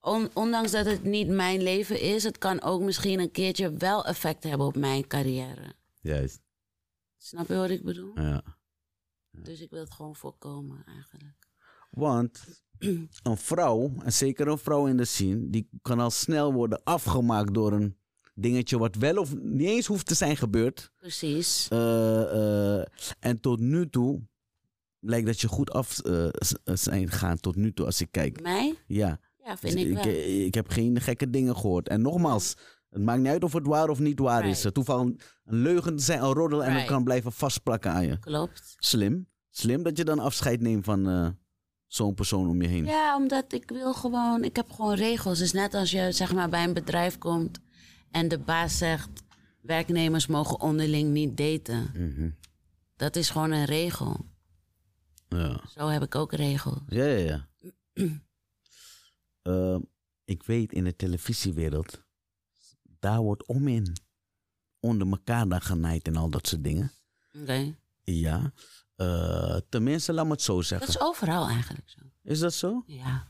on- ondanks dat het niet mijn leven is, het kan ook misschien een keertje wel effect hebben op mijn carrière.
Juist.
Snap je wat ik bedoel?
Ja.
Dus ik wil het gewoon voorkomen eigenlijk.
Want een vrouw, en zeker een vrouw in de scene, die kan al snel worden afgemaakt door een dingetje wat wel of niet eens hoeft te zijn gebeurd.
Precies.
Eh, eh, en tot nu toe lijkt dat je goed af eh, s- eh, zijn gegaan tot nu toe als ik kijk.
Mij?
Ja,
Ja, vind ik wel.
Dus ik, eh, ik heb geen gekke dingen gehoord. En nogmaals, het maakt niet uit of het waar of niet waar is.
Right.
Het hoeft al een, een leugen te zijn, een roddel en het
Right.
kan blijven vastplakken aan je.
Klopt.
Slim. Slim dat je dan afscheid neemt van eh, zo'n persoon om je heen.
Ja, omdat ik wil gewoon, ik heb gewoon regels. Dus net als je zeg maar bij een bedrijf komt en de baas zegt, werknemers mogen onderling niet daten.
Mhm.
Dat is gewoon een regel.
Ja.
Zo heb ik ook regels.
Ja, ja, ja. Eh, ik weet in de televisiewereld, daar wordt om in. Onder elkaar dan genaaid en al dat soort dingen.
Oké.
Ja. Eh, tenminste, laat me het zo
Dat
zeggen.
is overal eigenlijk zo.
Is dat zo?
Ja.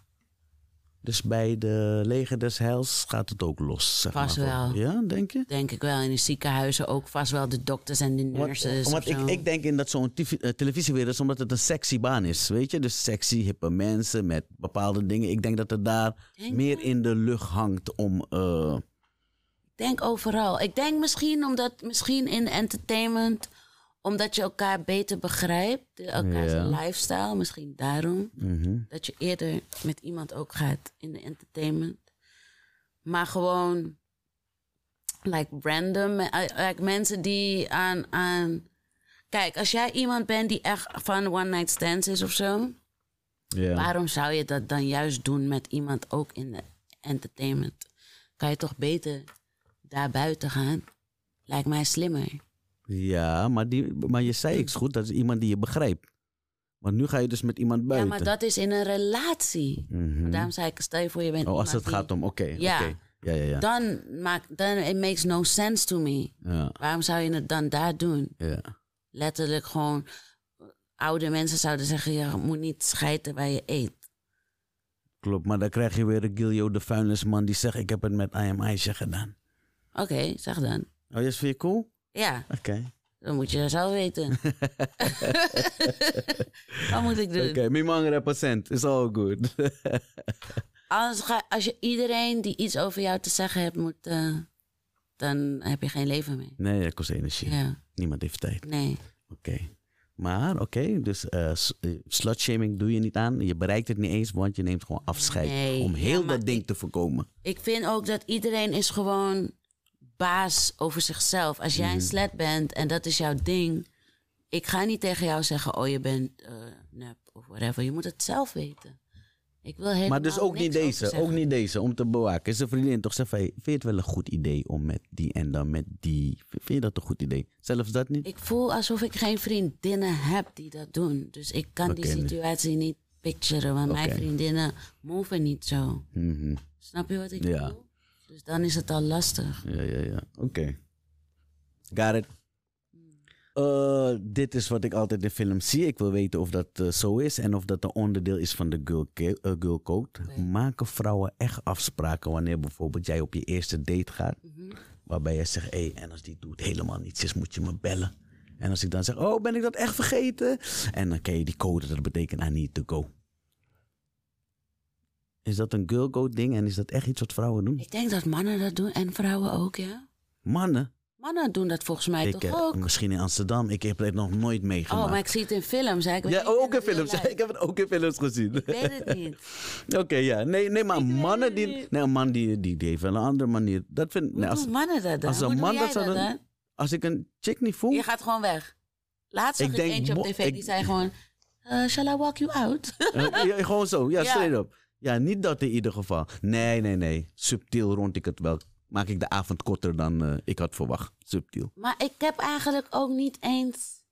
Dus bij de leger des heils gaat het ook los. Zeg
Vast
maar.
wel.
Ja, denk je?
Denk ik wel. In de ziekenhuizen ook vast wel de dokters en de
Want,
nurses.
want
of
ik,
zo.
ik denk in dat zo'n tivi- eh, televisiewereld is omdat het een sexy baan is. Weet je? Dus sexy, hippe mensen met bepaalde dingen. Ik denk dat het daar
Denk je?
meer in de lucht hangt om... eh,
denk overal. Ik denk misschien omdat misschien in entertainment, omdat je elkaar beter begrijpt, elkaars
Ja.
lifestyle, misschien daarom
mhm.
dat je eerder met iemand ook gaat in de entertainment. Maar gewoon like random, eh, like mensen die aan aan Kijk, als jij iemand bent die echt van one night stands is of zo,
Ja.
waarom zou je dat dan juist doen met iemand ook in de entertainment? Kan je toch beter daar buiten gaan? Lijkt mij slimmer.
Ja, maar, die, maar je zei iets goed, dat is iemand die je begrijpt. Want nu ga je dus met iemand
Ja,
buiten.
maar dat is in een relatie.
Mhm.
Daarom zei ik, stel je voor je bent
Oh, als het
iemand
gaat
die-
om, oké.
Ja.
oké. Ja, ja, ja.
Dan maakt, dan it makes no sense to me.
ja,
Waarom zou je het dan daar doen?
ja.
Letterlijk gewoon, oude mensen zouden zeggen, je moet niet schijten waar je eet.
Klopt, maar dan krijg je weer een Gilio de vuilnisman die zegt, ik heb het met I am Aisha gedaan.
Oké, zeg dan.
Oh, is vind je cool?
Ja,
Oké.
Dan moet je dat zelf weten. Wat moet ik doen?
Oké, mijn man represent. Is all good.
Anders ga, als je iedereen die iets over jou te zeggen hebt, moet, eh, dan heb je geen leven meer.
nee, dat kost energie.
Ja,
Niemand heeft tijd.
nee.
Oké. Maar oké, dus eh, s- eh, slutshaming doe je niet aan. Je bereikt het niet eens, want je neemt gewoon afscheid.
Nee,
Om
ja,
heel
maar
dat ding te voorkomen.
Ik vind ook dat iedereen is gewoon baas over zichzelf. Als
Mm.
jij een slet bent en dat is jouw ding. Ik ga niet tegen jou zeggen, oh je bent eh nep of whatever. Je moet het zelf weten. Ik wil helemaal
Maar dus ook
niks
niet
over
deze,
zeggen.
ook niet deze, om te bewaken. Is een vriendin toch zegt, hey, vind je het wel een goed idee om met die en dan met die? Vind je dat een goed idee? Zelfs dat niet?
Ik voel alsof ik geen vriendinnen heb die dat doen. Dus ik kan die
Oké, nee.
situatie niet picturen. Want mijn
Oké.
vriendinnen move niet zo.
Mhm.
Snap je wat ik
Ja.
bedoel? Dus dan is het al lastig.
Ja, ja, ja. Oké. Got it. Eh, dit is wat ik altijd in films zie. Ik wil weten of dat eh, zo is en of dat een onderdeel is van de girl, ca- eh, girl code. Maken vrouwen echt afspraken wanneer bijvoorbeeld jij op je eerste date gaat, waarbij jij zegt: hé, en als die doet helemaal niets is, moet je me bellen. En als ik dan zeg: oh, ben ik dat echt vergeten? En dan ken je die code, dat betekent I need to go. Is dat een girl code ding en is dat echt iets wat vrouwen doen?
Ik denk dat mannen dat doen en vrouwen ook, ja.
Mannen.
Mannen doen dat volgens mij
Ik,
toch
eh,
ook?
Misschien in Amsterdam. Ik heb het nog nooit meegemaakt.
Oh, maar ik zie het in films. Hè? Ik weet
ja,
niet of
ook in
het real
films.
life-
Ik Nou, heb het ook in films gezien.
Ik weet het niet.
Oké, ja. Nee, nee maar mannen die... Nee, een man die, die, die heeft wel een andere manier. Dat vind
Hoe
nee, als,
doen mannen dat dan?
als een
Hoe doe
man
jij
dat zou doen-
dan?
als ik een chick niet voel...
Je gaat gewoon weg. Laatst zag
Ik
ik,
denk
eentje op
mo-
tv,
ik-
die zei gewoon... eh, shall I walk you out?
eh, ja, gewoon zo. Ja,
Ja.
straight up. Ja, niet dat in ieder geval. Nee, nee, nee. Subtiel rond ik het wel. Maak ik de avond korter dan eh, ik had verwacht. Subtiel.
maar ik heb eigenlijk ook niet eens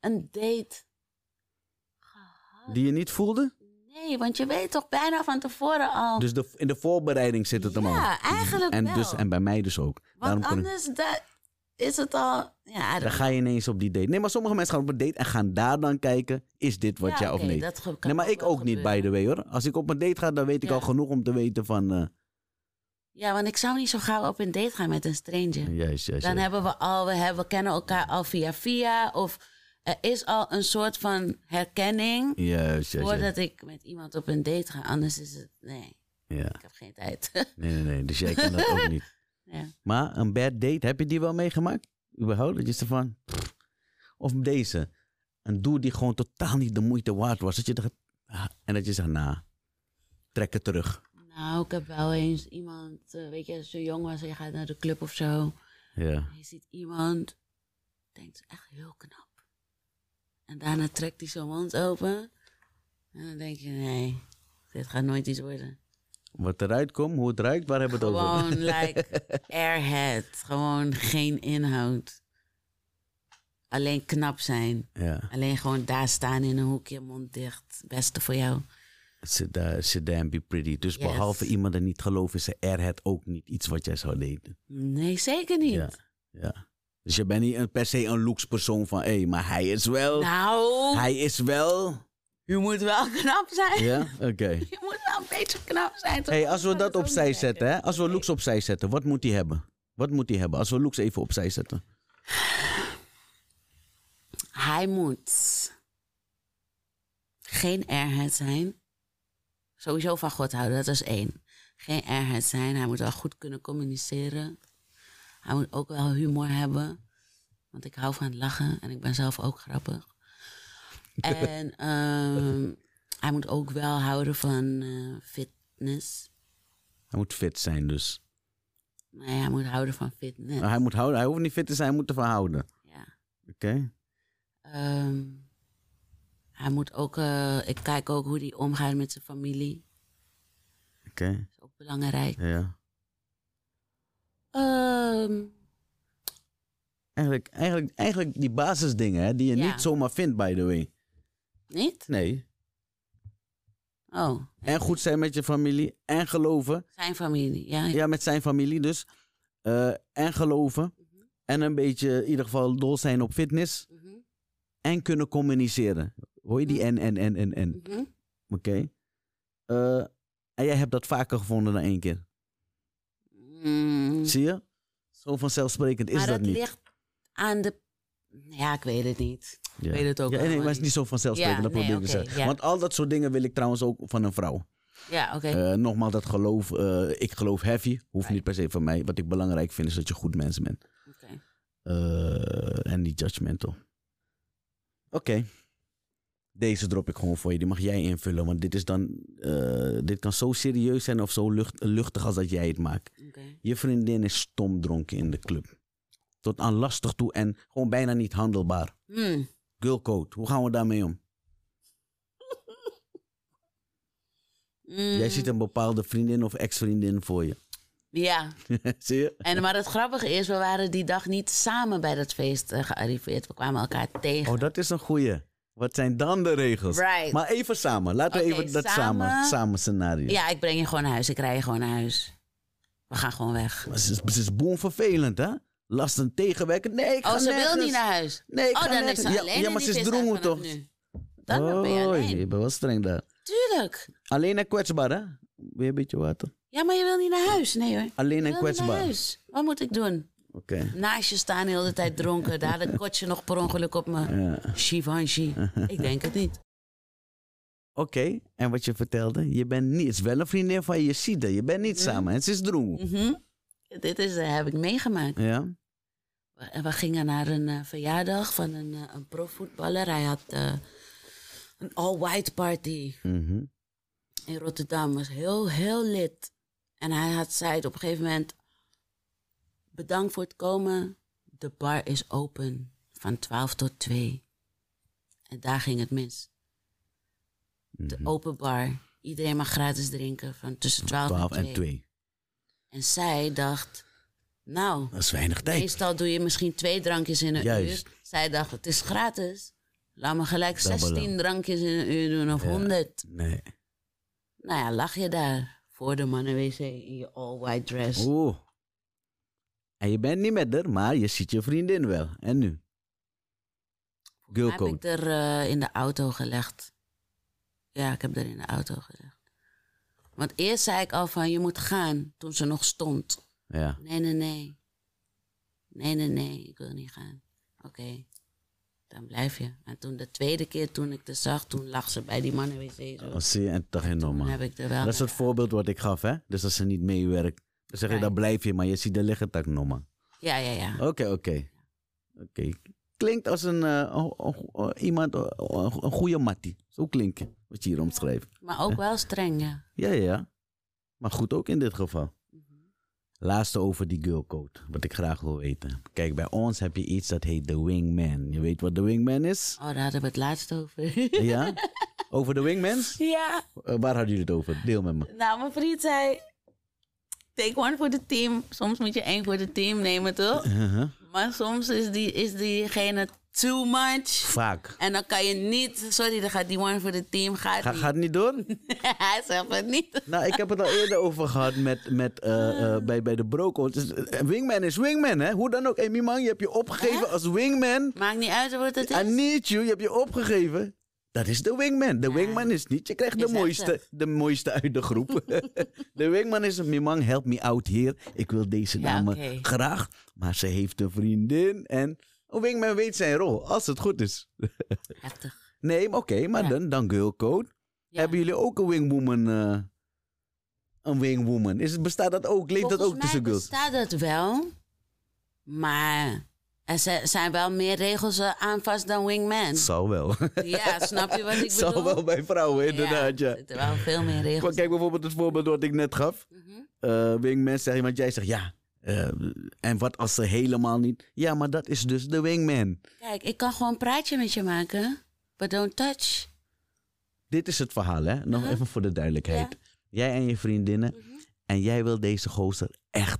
een date. Oh.
Die je niet voelde?
Nee, want je weet toch bijna van tevoren al.
Dus de, in de voorbereiding zit het hem al.
ja, eigenlijk
En,
wel.
dus, en bij mij dus ook.
want
kon ik-
anders dat is het al... Ja,
Dan
dat,
ga je ineens op die date. Nee, maar sommige mensen gaan op een date en gaan daar dan kijken: is dit wat
ja,
ja, of
oké,
nee?
dat ge- kan
nee, maar ik
wel
ook niet, by
gebeuren.
the way hoor. Als ik op een date ga, dan weet ik
Ja.
al genoeg om te weten van. eh
Ja, want ik zou niet zo gauw op een date gaan met een stranger.
juist, juist.
Dan
juist.
hebben we al, we, hebben, we kennen elkaar al via via. Of er is al een soort van herkenning
Juist, juist, juist.
voordat ik met iemand op een date ga. Anders is het, nee,
Ja.
ik heb geen tijd.
Nee, nee, nee. Dus jij kan dat ook niet.
ja.
Maar een bad date, heb je die wel meegemaakt? Überhaupt? Dat je zegt van. pff. Of deze. Een doel die gewoon totaal niet de moeite waard was. Dat je dacht. ah, En dat je zegt, nou, trek het terug.
Nou, ik heb wel eens iemand, eh, weet je, als je jong was en je gaat naar de club of zo.
Ja.
Je ziet iemand, denkt echt heel knap. En daarna trekt hij zijn mond open. En dan denk je, nee, dit gaat nooit iets worden.
Wat eruit komt, hoe het ruikt, waar hebben we het over?
Gewoon like airhead. Gewoon geen inhoud. Alleen knap zijn.
Ja.
Alleen gewoon daar staan in een hoekje, mond dicht. Beste voor jou.
Sit daar- sit there and be pretty. Dus
Yes.
behalve iemand er niet gelooft, is een airhead ook niet iets wat jij zou delen.
Nee, zeker niet.
Ja. ja. Dus je bent niet een- per se een lookspersoon van, hé, maar hij is wel,
Nou,
hij is wel.
je moet wel knap zijn.
Ja, oké.
Je moet wel een beetje knap zijn. toch?
Hey, als we
Kan
dat
het ook
opzij
niet
zetten, hè? als we looks opzij zetten, wat moet hij hebben? Wat moet hij hebben? Als we looks even opzij zetten.
zeggen. Hij moet geen airhead zijn. Sowieso van God houden, dat is één. Geen airhead zijn. Hij moet wel goed kunnen communiceren. Hij moet ook wel humor hebben. Want ik hou van lachen en ik ben zelf ook grappig. En ehm, hij moet ook wel houden van eh, fitness.
Hij moet fit zijn dus.
Nee, hij moet houden van fitness.
Hij, moet houden, hij hoeft niet fit te zijn, hij moet ervan houden.
Ja.
Oké?
Ehm, hij moet ook, eh, ik kijk ook hoe hij omgaat met zijn familie.
Oké.
Dat is ook belangrijk.
Ja.
Ehm,
Eigenlijk, eigenlijk, eigenlijk die basisdingen hè, die je
Ja.
niet zomaar vindt, by the way.
niet?
Nee.
Oh,
En goed zijn met je familie. En geloven.
zijn familie. Ja,
Ja, met zijn familie dus. Eh, en geloven. En een beetje in ieder geval dol zijn op fitness.
Mhm,
En kunnen communiceren. Hoor je die en, en, en, en, en.
mhm.
Oké. Eh, en jij hebt dat vaker gevonden dan één keer.
Mm,
Zie je? Zo vanzelfsprekend is
maar
dat
dat
niet.
ligt aan de Ja, ik weet het niet.
Ja.
Ik weet het ook
ja, nee,
allemaal
maar het is niet zo vanzelfsprekend,
Ja,
dat
nee,
probeer ik te
oké,
zeggen.
ja.
Want al dat soort dingen wil ik trouwens ook van een vrouw.
Ja, oké.
Eh, nogmaals, dat geloof, eh, ik geloof heavy, hoeft niet per se van mij. Wat ik belangrijk vind is dat je goed mens bent.
oké.
Eh, en niet judgmental. Oké. Deze drop ik gewoon voor je. Die mag jij invullen. Want dit is dan. eh, dit kan zo serieus zijn of zo lucht, luchtig als dat jij het maakt.
oké.
Je vriendin is stomdronken in de club. Tot aan lastig toe en gewoon bijna niet handelbaar.
Hmm.
Girlcode, hoe gaan we daarmee om? Jij
Mm,
ziet een bepaalde vriendin of ex-vriendin voor je.
Ja,
Zie je?
en, maar het grappige is, we waren die dag niet samen bij dat feest eh, gearriveerd. We kwamen elkaar tegen.
Oh, dat is een goeie. Wat zijn dan de regels?
Right.
Maar even samen. Laten we
Oké,
even dat
samen.
samen, samen, scenario.
Ja, ik breng je gewoon naar huis. Ik rij je gewoon naar huis. We gaan gewoon weg.
Maar ze is, ze is boemvervelend, hè? Last en tegenwerken. Nee, ik ga
Oh, ze wil
nergens.
niet naar huis.
Nee, ik
oh,
ga
dan is
nergens.
ze
Ja,
alleen
ja,
in
maar
die
ze is
visnacht
droemen,
vanaf
toch? Oh,
nu. Dan ben je
Oei,
alleen.
je bent wel streng daar.
Tuurlijk.
Alleen en kwetsbaar, hè? Weer een beetje water.
Ja, maar je wil niet naar huis. Nee hoor.
Alleen en
Je wil niet naar
kwetsbaar. Oké.
huis. Wat moet ik doen? Naast je staan heel de hele tijd dronken. Daar had een kotje nog per ongeluk op me.
Ja.
Shivanshi. Ik denk het niet.
Oké, en wat je vertelde? Je bent niet, het is wel een vriendin van je, je ziet dat. Je bent
Mm.
niet samen. Het is droem.
Mhm. Dit is, eh, heb ik meegemaakt.
Ja?
We, we gingen naar een eh, verjaardag van een, eh, een profvoetballer. Hij had eh, een all-white party.
Mhm.
in Rotterdam was heel, heel lid. En hij had, zei het op een gegeven moment: Bedankt voor het komen. De bar is open van 12 tot 2. En daar ging het mis. De open bar. Iedereen mag gratis drinken Mhm. van tussen 12,
12
en 2.
en 2.
En zij dacht: Nou,
Dat is weinig tijd.
meestal doe je misschien twee drankjes in een
Juist.
uur. Zij dacht: Het is gratis. Laat me gelijk
Dubbele.
16 drankjes in een uur doen of 100.
Nee.
Nou ja, lag je daar voor de mannenwc in je all-white dress.
Oeh. En je bent niet met haar, maar je ziet je vriendin wel. En nu?
Maar heb ik
Girlcode.
er eh, in de auto gelegd. Ja, ik heb er in de auto gelegd. Want eerst zei ik al van, je moet gaan, toen ze nog stond.
Ja.
Nee, nee, nee. Nee, nee, nee, ik wil niet gaan. Oké, dan blijf je. En toen de tweede keer, toen ik het zag, toen lag ze bij die mannenwc. Zo.
Oh, zie je, en toch geen
Toen
normaal.
heb ik er wel...
Dat is het voorbeeld wat ik gaf, hè? Dus als ze niet meewerkt, dan zeg je, dan blijf je, maar je ziet de liggen tak normaal.
Ja, ja, ja.
Oké, oké. Oké. Klinkt als een, eh, oh, oh, oh, iemand, oh, oh, een go- een goede mattie. Zo klinkt het, wat je hier omschrijft.
Maar ook wel streng, ja.
Ja, ja, ja. Maar goed ook in dit geval. Laatste over die girlcode, wat ik graag wil weten. Kijk, bij ons heb je iets dat heet de wingman. Je weet wat de wingman is?
Oh, daar hadden we het laatst over.
Ja? Over de wingmans?
ja.
Eh, waar hadden jullie het over? Deel met me.
Nou, mijn vriend zei... Take one voor de team. Soms moet je één voor de team nemen, toch?
Uh-huh.
Maar soms is, die, is diegene too much.
Vaak.
En dan kan je niet... Sorry, dan gaat die one voor de team gaat
Ga,
niet.
gaat het niet door?
Hij zegt het niet.
Nou, ik heb het al eerder over gehad met, met, eh, eh, bij, bij de Broco. wingman is wingman, hè? Hoe dan ook. Amy Mang, je hebt je opgegeven als wingman.
Maakt niet uit wat het is.
I need you. Je hebt je opgegeven. Dat is de wingman. De wingman is niet. Je krijgt de
Is echt
mooiste, de mooiste uit de groep. de wingman is een Mimang, help me out here. Ik wil deze
Ja,
dame
oké.
graag. Maar ze heeft een vriendin. En een wingman weet zijn rol, als het goed is.
Heftig.
Nee, maar oké, maar
Ja.
dan, dan girl code.
Ja.
Hebben jullie ook een wingwoman? eh, een wingwoman? Is, het- bestaat dat ook? Leeft dat ook
Volgens mij
tussen girls?
bestaat dat wel. Maar er zi- zijn wel meer regels eh, aan vast dan wingman.
Zal wel.
Ja, snap je wat ik bedoel?
Zal wel bij vrouwen, inderdaad.
Ja,
Ja.
er zitten wel veel meer
Maar
regels.
kijk bijvoorbeeld het voorbeeld wat ik net gaf.
Mhm.
Eh wingman zeg je, want jij zegt ja. eh, en wat als ze helemaal niet... Ja, maar dat is dus de wingman.
Kijk, ik kan gewoon een praatje met je maken. But don't touch.
Dit is het verhaal, hè? Nog
Uh-huh.
even voor de duidelijkheid. Jij en je vriendinnen. En jij wil deze gozer echt.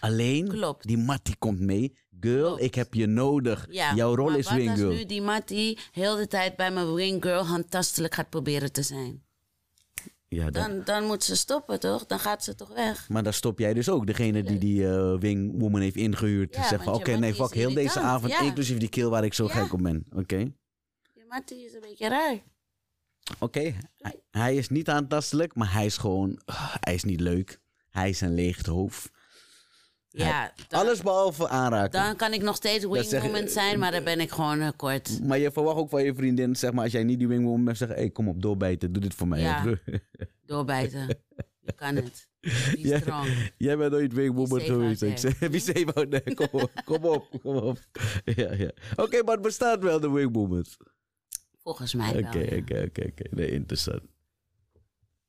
Alleen,
Klopt.
die Mattie komt mee. Girl,
Klopt.
ik heb je nodig.
Ja,
Jouw rol
maar
is
wat als
winggirl.
nu die Mattie heel de tijd bij mijn winggirl handtastelijk gaat proberen te zijn.
Ja, dat-
Dan, dan moet ze stoppen, toch? Dan gaat ze toch weg.
Maar dan stop jij dus ook. Degene die die eh, wingwoman heeft ingehuurd.
Ja,
zegt
want
van,
je
oké, nee,
Mattie is
fuck, heel deze
irritant.
avond.
Ja.
Inclusief die keel waar ik zo
Ja.
gek op ben. Oké.
Die Mattie is een beetje raar.
Oké, hij- hij is niet eh, aantastelijk, maar hij is gewoon, ah, hij is niet leuk. Hij is een leeg hoofd.
Ja, dan,
Alles behalve aanraken.
dan kan ik nog steeds
zeg-
wingwoman zijn, maar dan ben ik gewoon eh, kort.
Maar je verwacht ook van je vriendin, zeg maar, als jij niet die wingwoman bent, zeggen: hey, kom op, doorbijten, doe dit voor mij.
Ja.
broer."
Doorbijten. Je kan het. Be
Ja.
strong.
Jij bent nooit wingwoman
Wie safe
geweest.
out
Ik zeg, Wie safe out there? Kom op, kom op, kom op. Ja, ja. Oké, maar het bestaat wel, de wingwoman.
Volgens mij wel.
Oké,
ja.
oké, oké, oké. Nee, interessant.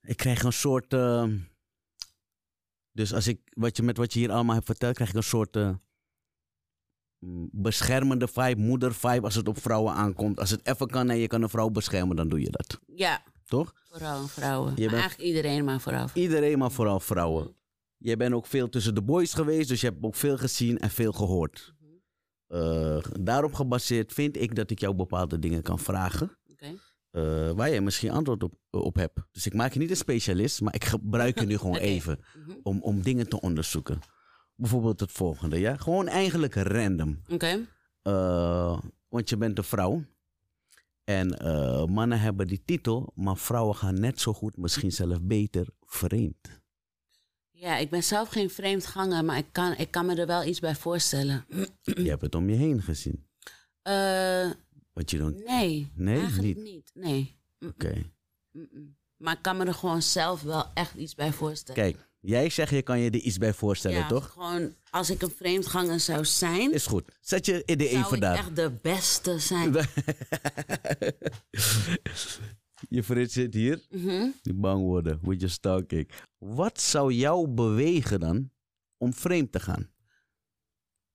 Ik krijg een soort... eh, dus als ik, wat je, met wat je hier allemaal hebt verteld, krijg ik een soort... eh, mm, beschermende vibe, moeder vibe, als het op vrouwen aankomt. Als het even kan en je kan een vrouw beschermen, dan doe je dat.
Ja,
Toch?
vooral vrouwen. Maar
bent-
Eigenlijk iedereen, maar vooral.
Iedereen, maar vooral vrouwen. Jij bent ook veel tussen de boys geweest, dus je hebt ook veel gezien en veel gehoord. Eh, daarop gebaseerd vind ik dat ik jou bepaalde dingen kan vragen.
Oké.
eh, waar jij misschien antwoord op, op hebt. Dus ik maak je niet een specialist, maar ik gebruik je nu gewoon
Oké.
even
Mhm.
om, om dingen te onderzoeken. Bijvoorbeeld het volgende, ja? Gewoon eigenlijk random.
Oké.
Eh, want je bent een vrouw. En eh, mannen hebben die titel, maar vrouwen gaan net zo goed, misschien zelfs beter, vreemd.
Ja, ik ben zelf geen vreemdganger, maar ik kan, ik kan me er wel iets bij voorstellen.
Je hebt het om je heen gezien.
Eh,
Wat je doet.
nee.
Nee,
eigenlijk
niet.
niet. Nee.
Oké.
Mm-mm. Maar ik kan me er gewoon zelf wel echt iets bij voorstellen.
Kijk, jij zegt je kan je er iets bij voorstellen,
ja,
toch?
Gewoon, als ik een vreemdganger zou zijn,
Is goed. Zet je idee
zou
even
ik
daar.
echt de beste zijn.
Je vriend zit hier.
Mhm.
Die bang worden. With your star kick. Wat zou jou bewegen dan om vreemd te gaan?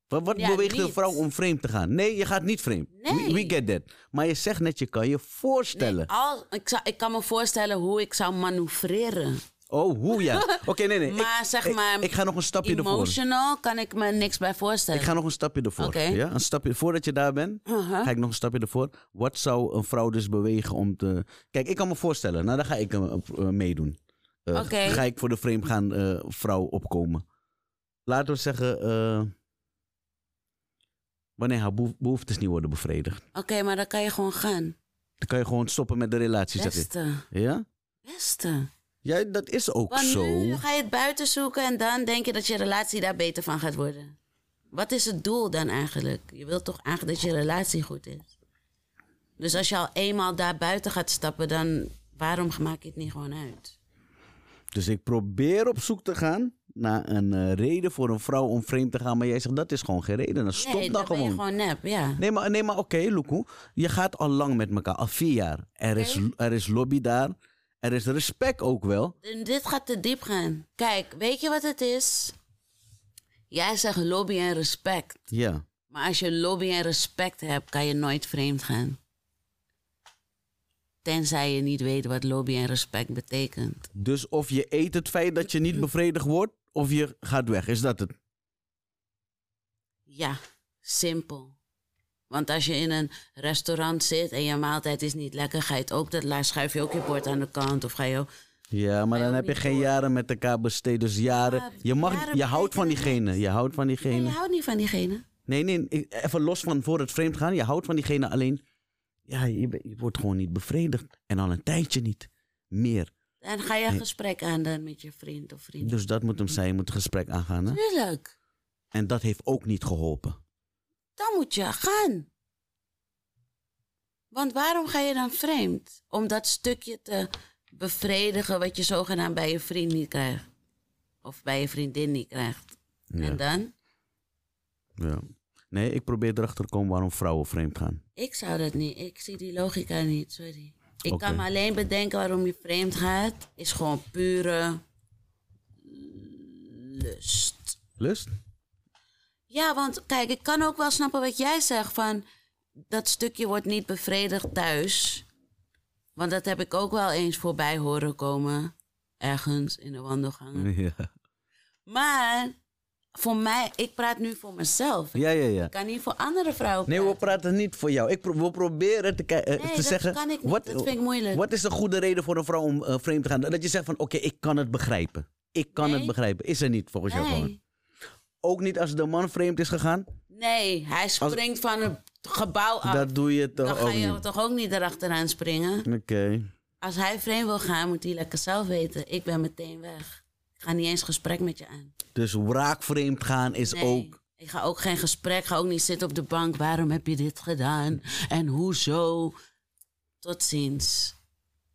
Wat, wat
Ja,
beweegt een
niet.
vrouw om vreemd te gaan? Nee, je gaat niet vreemd. We-
Nee.
We, get that. Maar je zegt net, je kan je voorstellen.
Als, ik, zou, ik kan me voorstellen hoe ik zou manoeuvreren.
Oh, hoe ja. Oké, nee, nee.
Maar
ik,
zeg
ik-
maar,
Ik, ga nog een stapje ervoor.
Emotional kan ik me niks bij voorstellen.
Ik ga nog een stapje ervoor.
Oké.
Ja? Een stapje, voordat je daar bent,
Uh-huh.
ga ik nog een stapje ervoor. Wat zou een vrouw dus bewegen om te... Kijk, ik kan me voorstellen. Nou, daar ga ik eh, eh, meedoen. Eh,
Oké.
Ga ik voor de vreemdgaan eh vrouw opkomen. Laten we zeggen... eh, wanneer haar behoef- behoeftes niet worden bevredigd.
Oké, maar dan kan je gewoon gaan.
Dan kan je gewoon stoppen met de relatie, zeg ik.
Beste,
Ja?
beste.
Ja, dat is ook
Want
zo.
nu ga je het buiten zoeken en dan denk je dat je relatie daar beter van gaat worden. Wat is het doel dan eigenlijk? Je wilt toch eigenlijk dat je relatie goed is? Dus als je al eenmaal daar buiten gaat stappen, dan waarom maak je het niet gewoon uit?
Dus ik probeer op zoek te gaan naar een eh, reden voor een vrouw om vreemd te gaan. Maar jij zegt, dat is gewoon geen reden. Dan stop
nee,
dan
ben
gewoon.
je gewoon nep, ja.
Nee, maar, nee, maar oké, Loekoe. Je gaat al lang met elkaar, al vier jaar. Er, is, er is lobby daar. Er is respect ook wel.
En Dit gaat te diep gaan. Kijk, weet je wat het is? Jij zegt lobby en respect.
Ja.
Maar als je lobby en respect hebt, kan je nooit vreemd gaan. Tenzij je niet weet wat lobby en respect betekent.
Dus of je eet het feit dat je niet bevredigd wordt, of je gaat weg. Is dat het?
Ja, simpel. Want als je in een restaurant zit en je maaltijd is niet lekker, ga je het ook dat laat schuif je ook je bord aan de kant of ga je ook.
Ja, maar dan heb je geen jaren met elkaar besteed. Dus jaren.
Ja,
Je, mag,
jaren
je houdt van
betekenen
diegene. Je houdt van
Nee, je
diegene.
houdt niet van diegene.
Nee, nee. ik- Even los van voor het vreemd gaan. Je houdt van diegene alleen. Ja, je, be- je wordt gewoon niet bevredigd. En al een tijdje niet. Meer.
Dan ga je een gesprek aan dan met je vriend of vriendin.
Dus dat moet hem zijn. Je moet het gesprek aangaan. Hè?
Tuurlijk,
En dat heeft ook niet geholpen.
dan moet je gaan. Want waarom ga je dan vreemd? Om dat stukje te bevredigen wat je zogenaamd bij je vriend niet krijgt. Of bij je vriendin niet krijgt.
Ja.
En dan?
Ja. Nee, ik probeer erachter te komen waarom vrouwen vreemd gaan.
Ik zou dat niet. Ik zie die logica niet, sorry. Ik
Oké.
kan me alleen bedenken waarom je vreemd gaat. Is gewoon pure lust.
Lust?
Ja, want kijk, ik kan ook wel snappen wat jij zegt van dat stukje wordt niet bevredigd thuis. Want dat heb ik ook wel eens voorbij horen komen ergens in de wandelgangen.
Ja.
Maar voor mij, ik praat nu voor mezelf.
Ja, ja, ja.
Ik kan niet voor andere vrouwen
Nee, we
praten.
praten niet voor jou. Ik pro- we proberen te, ki- eh,
Nee,
te
dat
zeggen.
kan ik niet. Dat vind ik moeilijk.
Wat is een goede reden voor een vrouw om eh, vreemd te gaan? Dat je zegt van, oké, ik kan het begrijpen. Ik kan het
Nee.
begrijpen. Is er niet volgens jou gewoon.
nee.
Ook niet als de man vreemd is gegaan.
nee, hij springt van een gebouw af.
Dat doe je
Ah, Dan
toch
ga
ook
je
niet.
toch ook niet erachteraan springen.
Oké.
Als hij vreemd wil gaan, moet hij lekker zelf weten. Ik ben meteen weg. Ik ga niet eens gesprek met je aan.
Dus raakvreemd gaan is
Nee,
ook...
Ik ga ook geen gesprek, ga ook niet zitten op de bank. Waarom heb je dit gedaan? En hoezo? Tot ziens.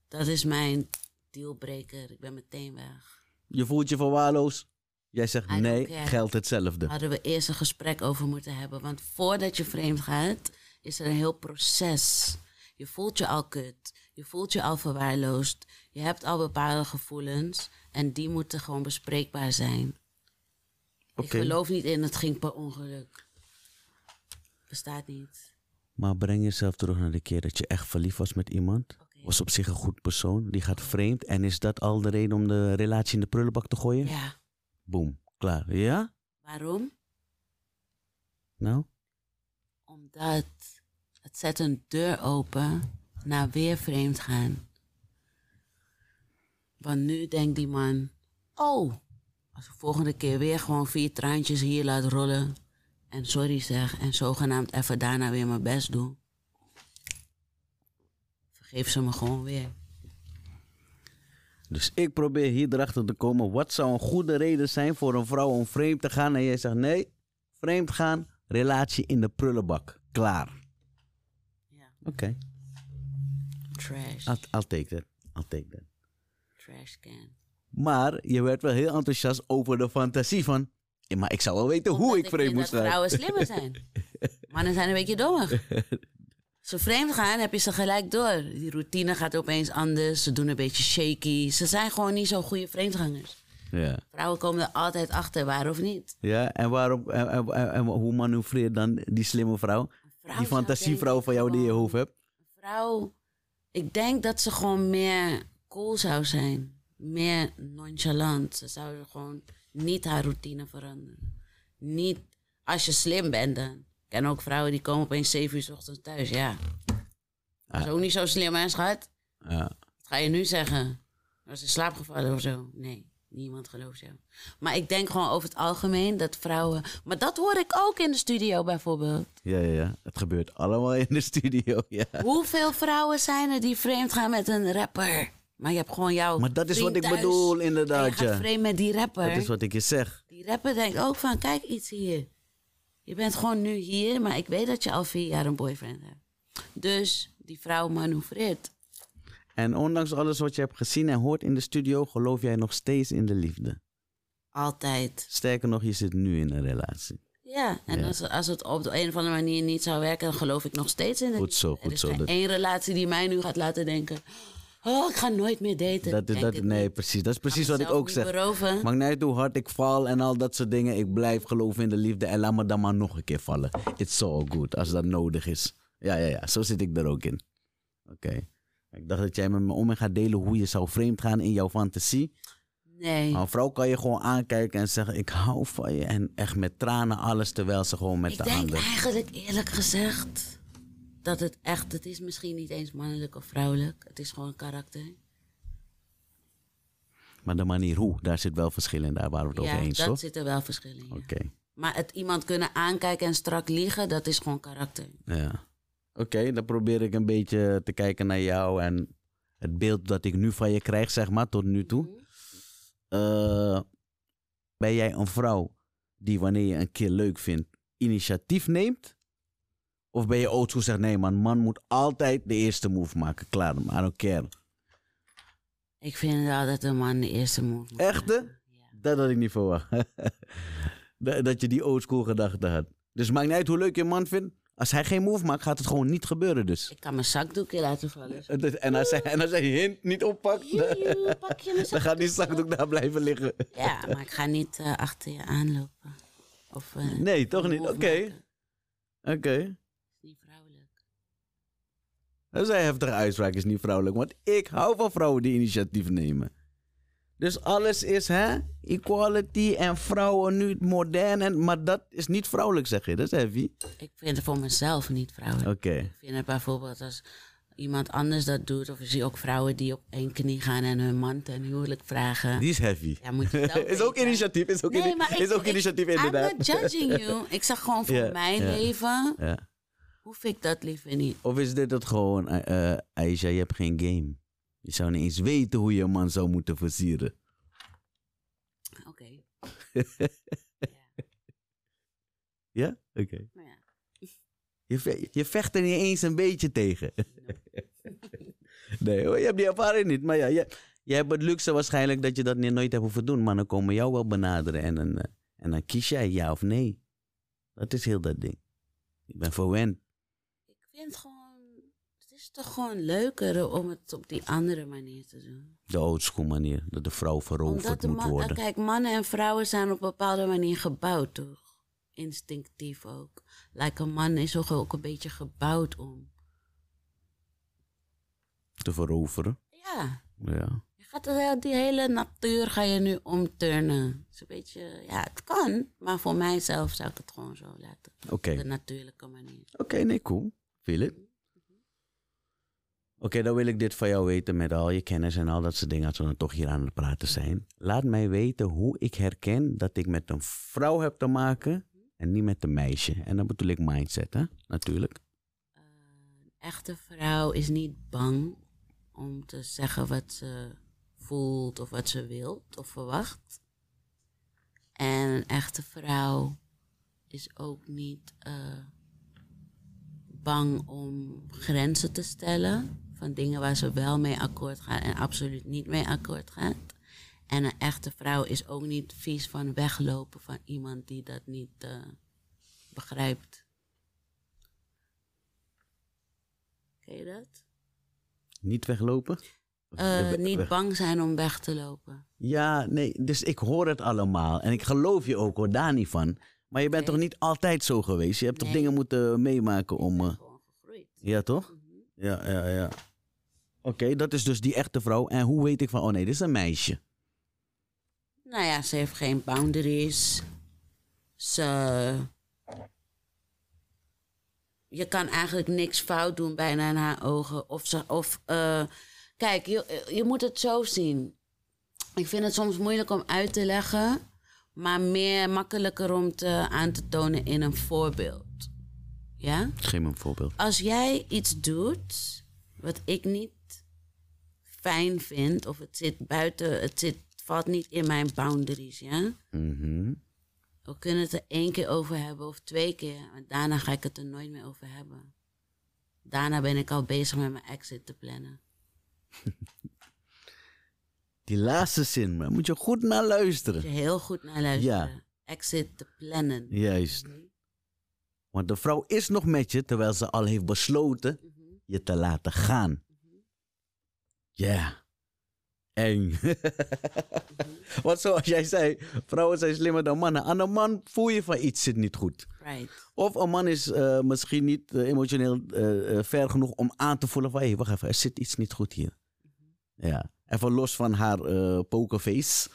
Dat is mijn dealbreaker. Ik ben meteen weg.
Je voelt je verwaarloosd. Jij zegt
I don't
nee,
care.
geldt hetzelfde.
Hadden we eerst een gesprek over moeten hebben. Want voordat je vreemd gaat, is er een heel proces. Je voelt je al kut. Je voelt je al verwaarloosd. Je hebt al bepaalde gevoelens. En die moeten gewoon bespreekbaar zijn.
Oké.
Ik geloof niet in het ging per ongeluk. Bestaat niet.
Maar breng jezelf terug naar de keer dat je echt verliefd was met iemand.
Oké.
Was op zich een goed persoon. Die gaat vreemd. En is dat al de reden om de relatie in de prullenbak te gooien?
Ja.
Boom. Klaar. Ja?
Waarom?
Nou?
Omdat het zet een deur open naar weer vreemd gaan. Want nu denkt die man, oh, als ik volgende keer weer gewoon vier traantjes hier laat rollen en sorry zeg en zogenaamd even daarna weer mijn best doe, vergeef ze me gewoon weer.
Dus ik probeer hier erachter te komen. Wat zou een goede reden zijn voor een vrouw om vreemd te gaan? En jij zegt nee, vreemd gaan, relatie in de prullenbak. Klaar.
Ja,
Oké.
trash,
I'll, I'll take that. I'll take that.
trash can.
Maar je werd wel heel enthousiast over de fantasie van... "Eh, Maar ik zou wel weten hoe ik
Omdat
vreemd
vind
moest
dat
gaan.
vrouwen slimmer zijn. Mannen zijn een beetje dommer. Als ze vreemd gaan, heb je ze gelijk door. Die routine gaat opeens anders. Ze doen een beetje shaky. Ze zijn gewoon niet zo'n goede vreemdgangers.
Ja.
Vrouwen komen er altijd achter, waar of niet.
Ja, en, waarom, en, en- en- en hoe manoeuvreert dan die slimme vrouw?
vrouw
die
zou
fantasievrouw
denken
van jou die je
gewoon-
hoofd hebt?
Vrouw, ik denk dat ze gewoon meer cool zou zijn. Meer nonchalant. Ze zou gewoon niet haar routine veranderen. Niet als je slim bent dan. Ik ken ook vrouwen die komen opeens 7 uur 's ochtends thuis. Ja. Dat is ook niet zo slim, hè, schat?
Ja.
Wat ga je nu zeggen? Was in slaap gevallen of zo? Nee, niemand gelooft jou. Maar ik denk gewoon over het algemeen dat vrouwen. Maar dat hoor ik ook in de studio bijvoorbeeld.
Ja, ja, ja. Het gebeurt allemaal in de studio, ja.
Hoeveel vrouwen zijn er die vreemd gaan met een rapper? Maar je hebt gewoon jou.
Maar dat is wat ik
thuis
bedoel,
en je
inderdaad,
gaat
ja.
vreemd met die rapper.
Dat is wat ik je zeg.
Die rapper denkt ook van: kijk iets hier. Je bent gewoon nu hier, maar ik weet dat je al vier jaar een boyfriend hebt. Dus die vrouw manoeuvreert.
En ondanks alles wat je hebt gezien en hoort in de studio, geloof jij nog steeds in de liefde.
Altijd.
Sterker nog, je zit nu in een relatie.
Ja, en
Ja.
Als, als het op de een of andere manier niet zou werken, dan geloof ik nog steeds in het.
Goed zo,
er
goed
is
zo,
geen
dat-
één relatie die mij nu gaat laten denken: oh, ik ga nooit meer daten.
Dat, is-
Denk
dat,
het
nee,
niet.
precies. Dat is precies
Ga
wat ik
mezelf
ook
niet
zeg.
beroven.
Maakt niet uit hoe hard ik val en al dat soort dingen. Ik blijf geloven in de liefde en laat me dan maar nog een keer vallen. It's so good, als dat nodig is. Ja, ja, ja. Zo zit ik er ook in. Oké. Ik dacht dat jij met me om en gaat delen hoe je zou vreemd gaan in jouw fantasie.
Nee.
Maar een vrouw kan je gewoon aankijken en zeggen, ik hou van je. En echt met tranen alles, terwijl ze gewoon met
ik
de
denk
handen...
eigenlijk eerlijk gezegd dat het echt, het is misschien niet eens mannelijk of vrouwelijk. Het is gewoon karakter.
Maar de manier hoe, daar zit wel verschil in. Daar waren we het
ja,
over eens,
dat
toch?
zit er wel verschillen in. ja.
Oké.
Maar het iemand kunnen aankijken en strak liegen, dat is gewoon karakter.
Ja. Oké, dan probeer ik een beetje te kijken naar jou en het beeld dat ik nu van je krijg, zeg maar, tot nu toe. Eh, ben jij een vrouw die wanneer je een keer leuk vindt, initiatief neemt? Of ben je oud zo zegt, nee man, man moet altijd de eerste move maken. Klaar, I don't care.
Ik vind wel dat een man de eerste moet. maken.
Echte? Dat had ik niet verwacht. dat dat je die oldschool gedachte had. Dus maakt niet uit hoe leuk je een man vindt. Als hij geen move maakt, gaat het gewoon niet gebeuren dus.
Ik kan mijn zakdoekje laten vallen.
En dat- En als hij, en als hij hint niet oppakt, dan-
Joejoe, pak je mijn
dan gaat die zakdoek daar blijven liggen.
Ja, maar ik ga niet eh, achter je aanlopen. Of, eh,
Nee, toch niet? Oké.
wolf
Oké.
maken. Dat is niet vrouwelijk.
Dat is een heftige uitspraak, is niet vrouwelijk. Want ik hou van vrouwen die initiatief nemen. Dus alles is hè, equality en vrouwen nu modern. En, maar dat is niet vrouwelijk, zeg je. Dat is heavy.
Ik vind het voor mezelf niet vrouwelijk.
Oké.
Ik vind het bijvoorbeeld als iemand anders dat doet, of ik zie ook vrouwen die op één knie gaan en hun man ten huwelijk vragen.
Die is heavy.
Ja, moet je zelf
is ook
weten.
initiatief. Is ook,
Nee,
ini-
maar ik-
is ook
ik-
initiatief,
I'm
inderdaad.
not judging you. Ik zag gewoon voor
Ja,
mijn
ja.
leven,
Ja.
hoef ik dat liever niet.
Of is dit het gewoon, eh eh, Aisha, je hebt geen game. Je zou niet eens weten hoe je een man zou moeten versieren.
Oké.
Ja? Oké.
Nou ja.
Je, ve- je vecht er niet eens een beetje tegen. nee, hoor, je hebt die ervaring niet. Maar ja, je, je hebt het luxe waarschijnlijk dat je dat ni- nooit hebt hoeven doen. Maar dan komen jou wel benaderen en dan, eh, en dan kies jij ja of nee. Dat is heel dat ding. Ik ben verwend.
Ik vind gewoon. Het is toch gewoon leuker om het op die andere manier te doen.
De oldschool manier. Dat de vrouw veroverd
de
moet
man-
worden.
Kijk, mannen en vrouwen zijn op een bepaalde manier gebouwd, toch? Instinctief ook. Like een man is toch ook een beetje gebouwd om.
Te veroveren.
Ja.
Ja.
Je gaat de- die hele natuur ga je nu omturnen. Het is een beetje, ja, het kan. Maar voor mijzelf zou ik het gewoon zo laten.
Oké.
Op de natuurlijke manier.
Oké, nee, cool. Philip. Oké, dan wil ik dit van jou weten met al je kennis en al dat soort dingen als we dan toch hier aan het praten zijn. Laat mij weten hoe ik herken dat ik met een vrouw heb te maken en niet met een meisje. En dan bedoel ik mindset, hè? Natuurlijk.
Een echte vrouw is niet bang om te zeggen wat ze voelt of wat ze wilt of verwacht. En een echte vrouw is ook niet eh, bang om grenzen te stellen van dingen waar ze wel mee akkoord gaat en absoluut niet mee akkoord gaat. En een echte vrouw is ook niet vies van weglopen van iemand die dat niet eh, begrijpt. Ken je dat?
Niet weglopen.
Eh,
We-
niet
we-
bang zijn om weg te lopen.
Ja, nee, dus ik hoor het allemaal. En ik geloof je ook hoor, daar niet van. Maar je bent
Oké.
toch niet altijd zo geweest? Je hebt toch
Nee.
dingen moeten meemaken om... eh,
Gewoon gegroeid.
Ja, toch? Ja, ja, ja. Oké, dat is dus die echte vrouw. En hoe weet ik van, oh nee, dit is een meisje.
Nou ja, ze heeft geen boundaries. Ze. Je kan eigenlijk niks fout doen bijna in haar ogen. Of ze. Of, eh, kijk, je, je moet het zo zien. Ik vind het soms moeilijk om uit te leggen, maar meer makkelijker om te, aan te tonen in een voorbeeld. Ja?
Geef me een voorbeeld.
als jij iets doet wat ik niet fijn vind, of het zit buiten, het zit, valt niet in mijn boundaries, ja?
Mhm.
We kunnen het er één keer over hebben of twee keer, maar daarna ga ik het er nooit meer over hebben. Daarna ben ik al bezig met mijn exit te plannen.
Die laatste zin, man. Moet je goed naar
Moet je
luisteren.
heel goed naar luisteren. Exit te plannen.
Juist. Want de vrouw is nog met je, terwijl ze al heeft besloten je te laten gaan. Ja. Eng. Want zoals jij zei, vrouwen zijn slimmer dan mannen. Aan een man voel je van iets zit niet goed.
Right.
Of een man is eh, misschien niet eh, emotioneel eh, eh, ver genoeg om aan te voelen van... hé, wacht even, er zit iets niet goed hier.
Mhm.
Ja. Even los van haar eh, pokerface...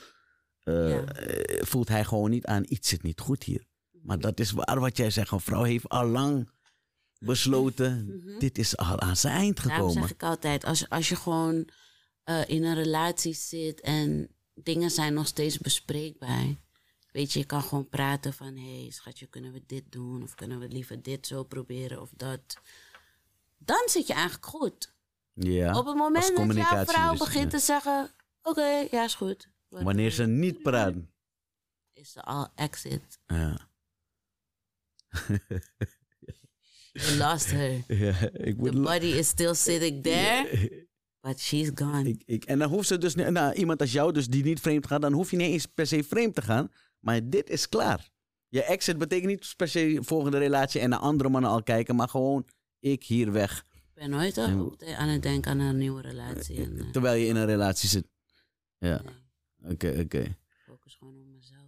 eh,
Ja.
eh, voelt hij gewoon niet aan, iets zit niet goed hier.
Mhm.
Maar dat is waar wat jij zegt. Een vrouw heeft al lang besloten... dit is al aan zijn eind
Mhm. Daarom zeg
gekomen.
ik altijd, als, als je gewoon eh, in een relatie zit en dingen zijn nog steeds bespreekbaar. Weet je, je kan gewoon praten van, hé hey, schatje, kunnen we dit doen? Of kunnen we liever dit zo proberen of dat? Dan zit je eigenlijk goed.
Ja.
Op het moment dat jouw
communicatie
vrouw
dus,
begint
ja.
te zeggen, oké, ja is goed. Wat-
Wanneer ze niet praat.
Is er al exit.
Ja.
You lost her.
Ja, ik
The
moet... la-
body is still sitting there, but she's gone.
Ik, ik, en dan hoeft ze dus, niet- nou, iemand als jou, dus die niet vreemd gaat, dan hoef je niet eens per se vreemd te gaan. Maar dit is klaar. Je exit betekent niet per se volgende relatie en naar andere mannen al kijken, maar gewoon ik hier weg.
Ik ben nooit al- aan het denken aan een nieuwe relatie. En, eh,
Terwijl je in een relatie zit. Ja,
nee.
oké, oké.
focus gewoon op mezelf.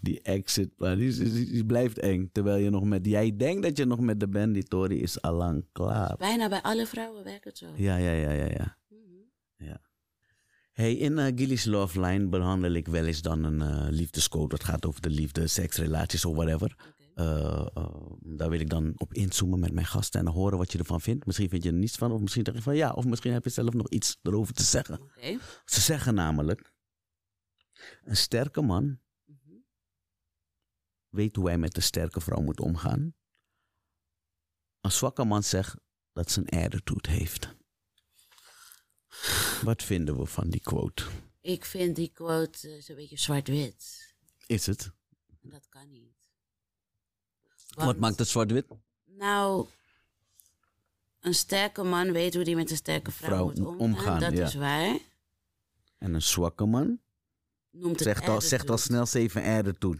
Die exit, maar die, is- die- die blijft eng. Terwijl je nog met, jij denkt dat je nog met de band, die Tory is allang klaar.
Bijna bij alle vrouwen werkt het zo.
Ja, ja, ja, ja, ja.
Mhm.
Hey, in eh, Gilly's Love Line behandel ik wel eens dan een eh, liefdescode. Dat gaat over de liefde, seks, relaties of whatever.
Oké.
Eh, eh, daar wil ik dan op inzoomen met mijn gasten en dan horen wat je ervan vindt. Misschien vind je er niets van, of misschien denk je van ja, of misschien heb je zelf nog iets erover te zeggen.
Oké.
Ze zeggen namelijk: Een sterke man
Mhm.
weet hoe hij met een sterke vrouw moet omgaan. Een zwakke man zegt dat zijn attitude heeft. Wat vinden we van die quote?
Ik vind die quote eh, zo'n beetje zwart-wit.
Is het?
En dat kan niet.
Wat
Want-
maakt het zwart-wit?
Nou, een sterke man weet hoe hij met een sterke vrouw,
Vrouw
moet omgaan.
omgaan,
dat
ja.
is waar.
En een zwakke man
Noemt het
zegt al,
attitude.
zegt al snel 7 R toe.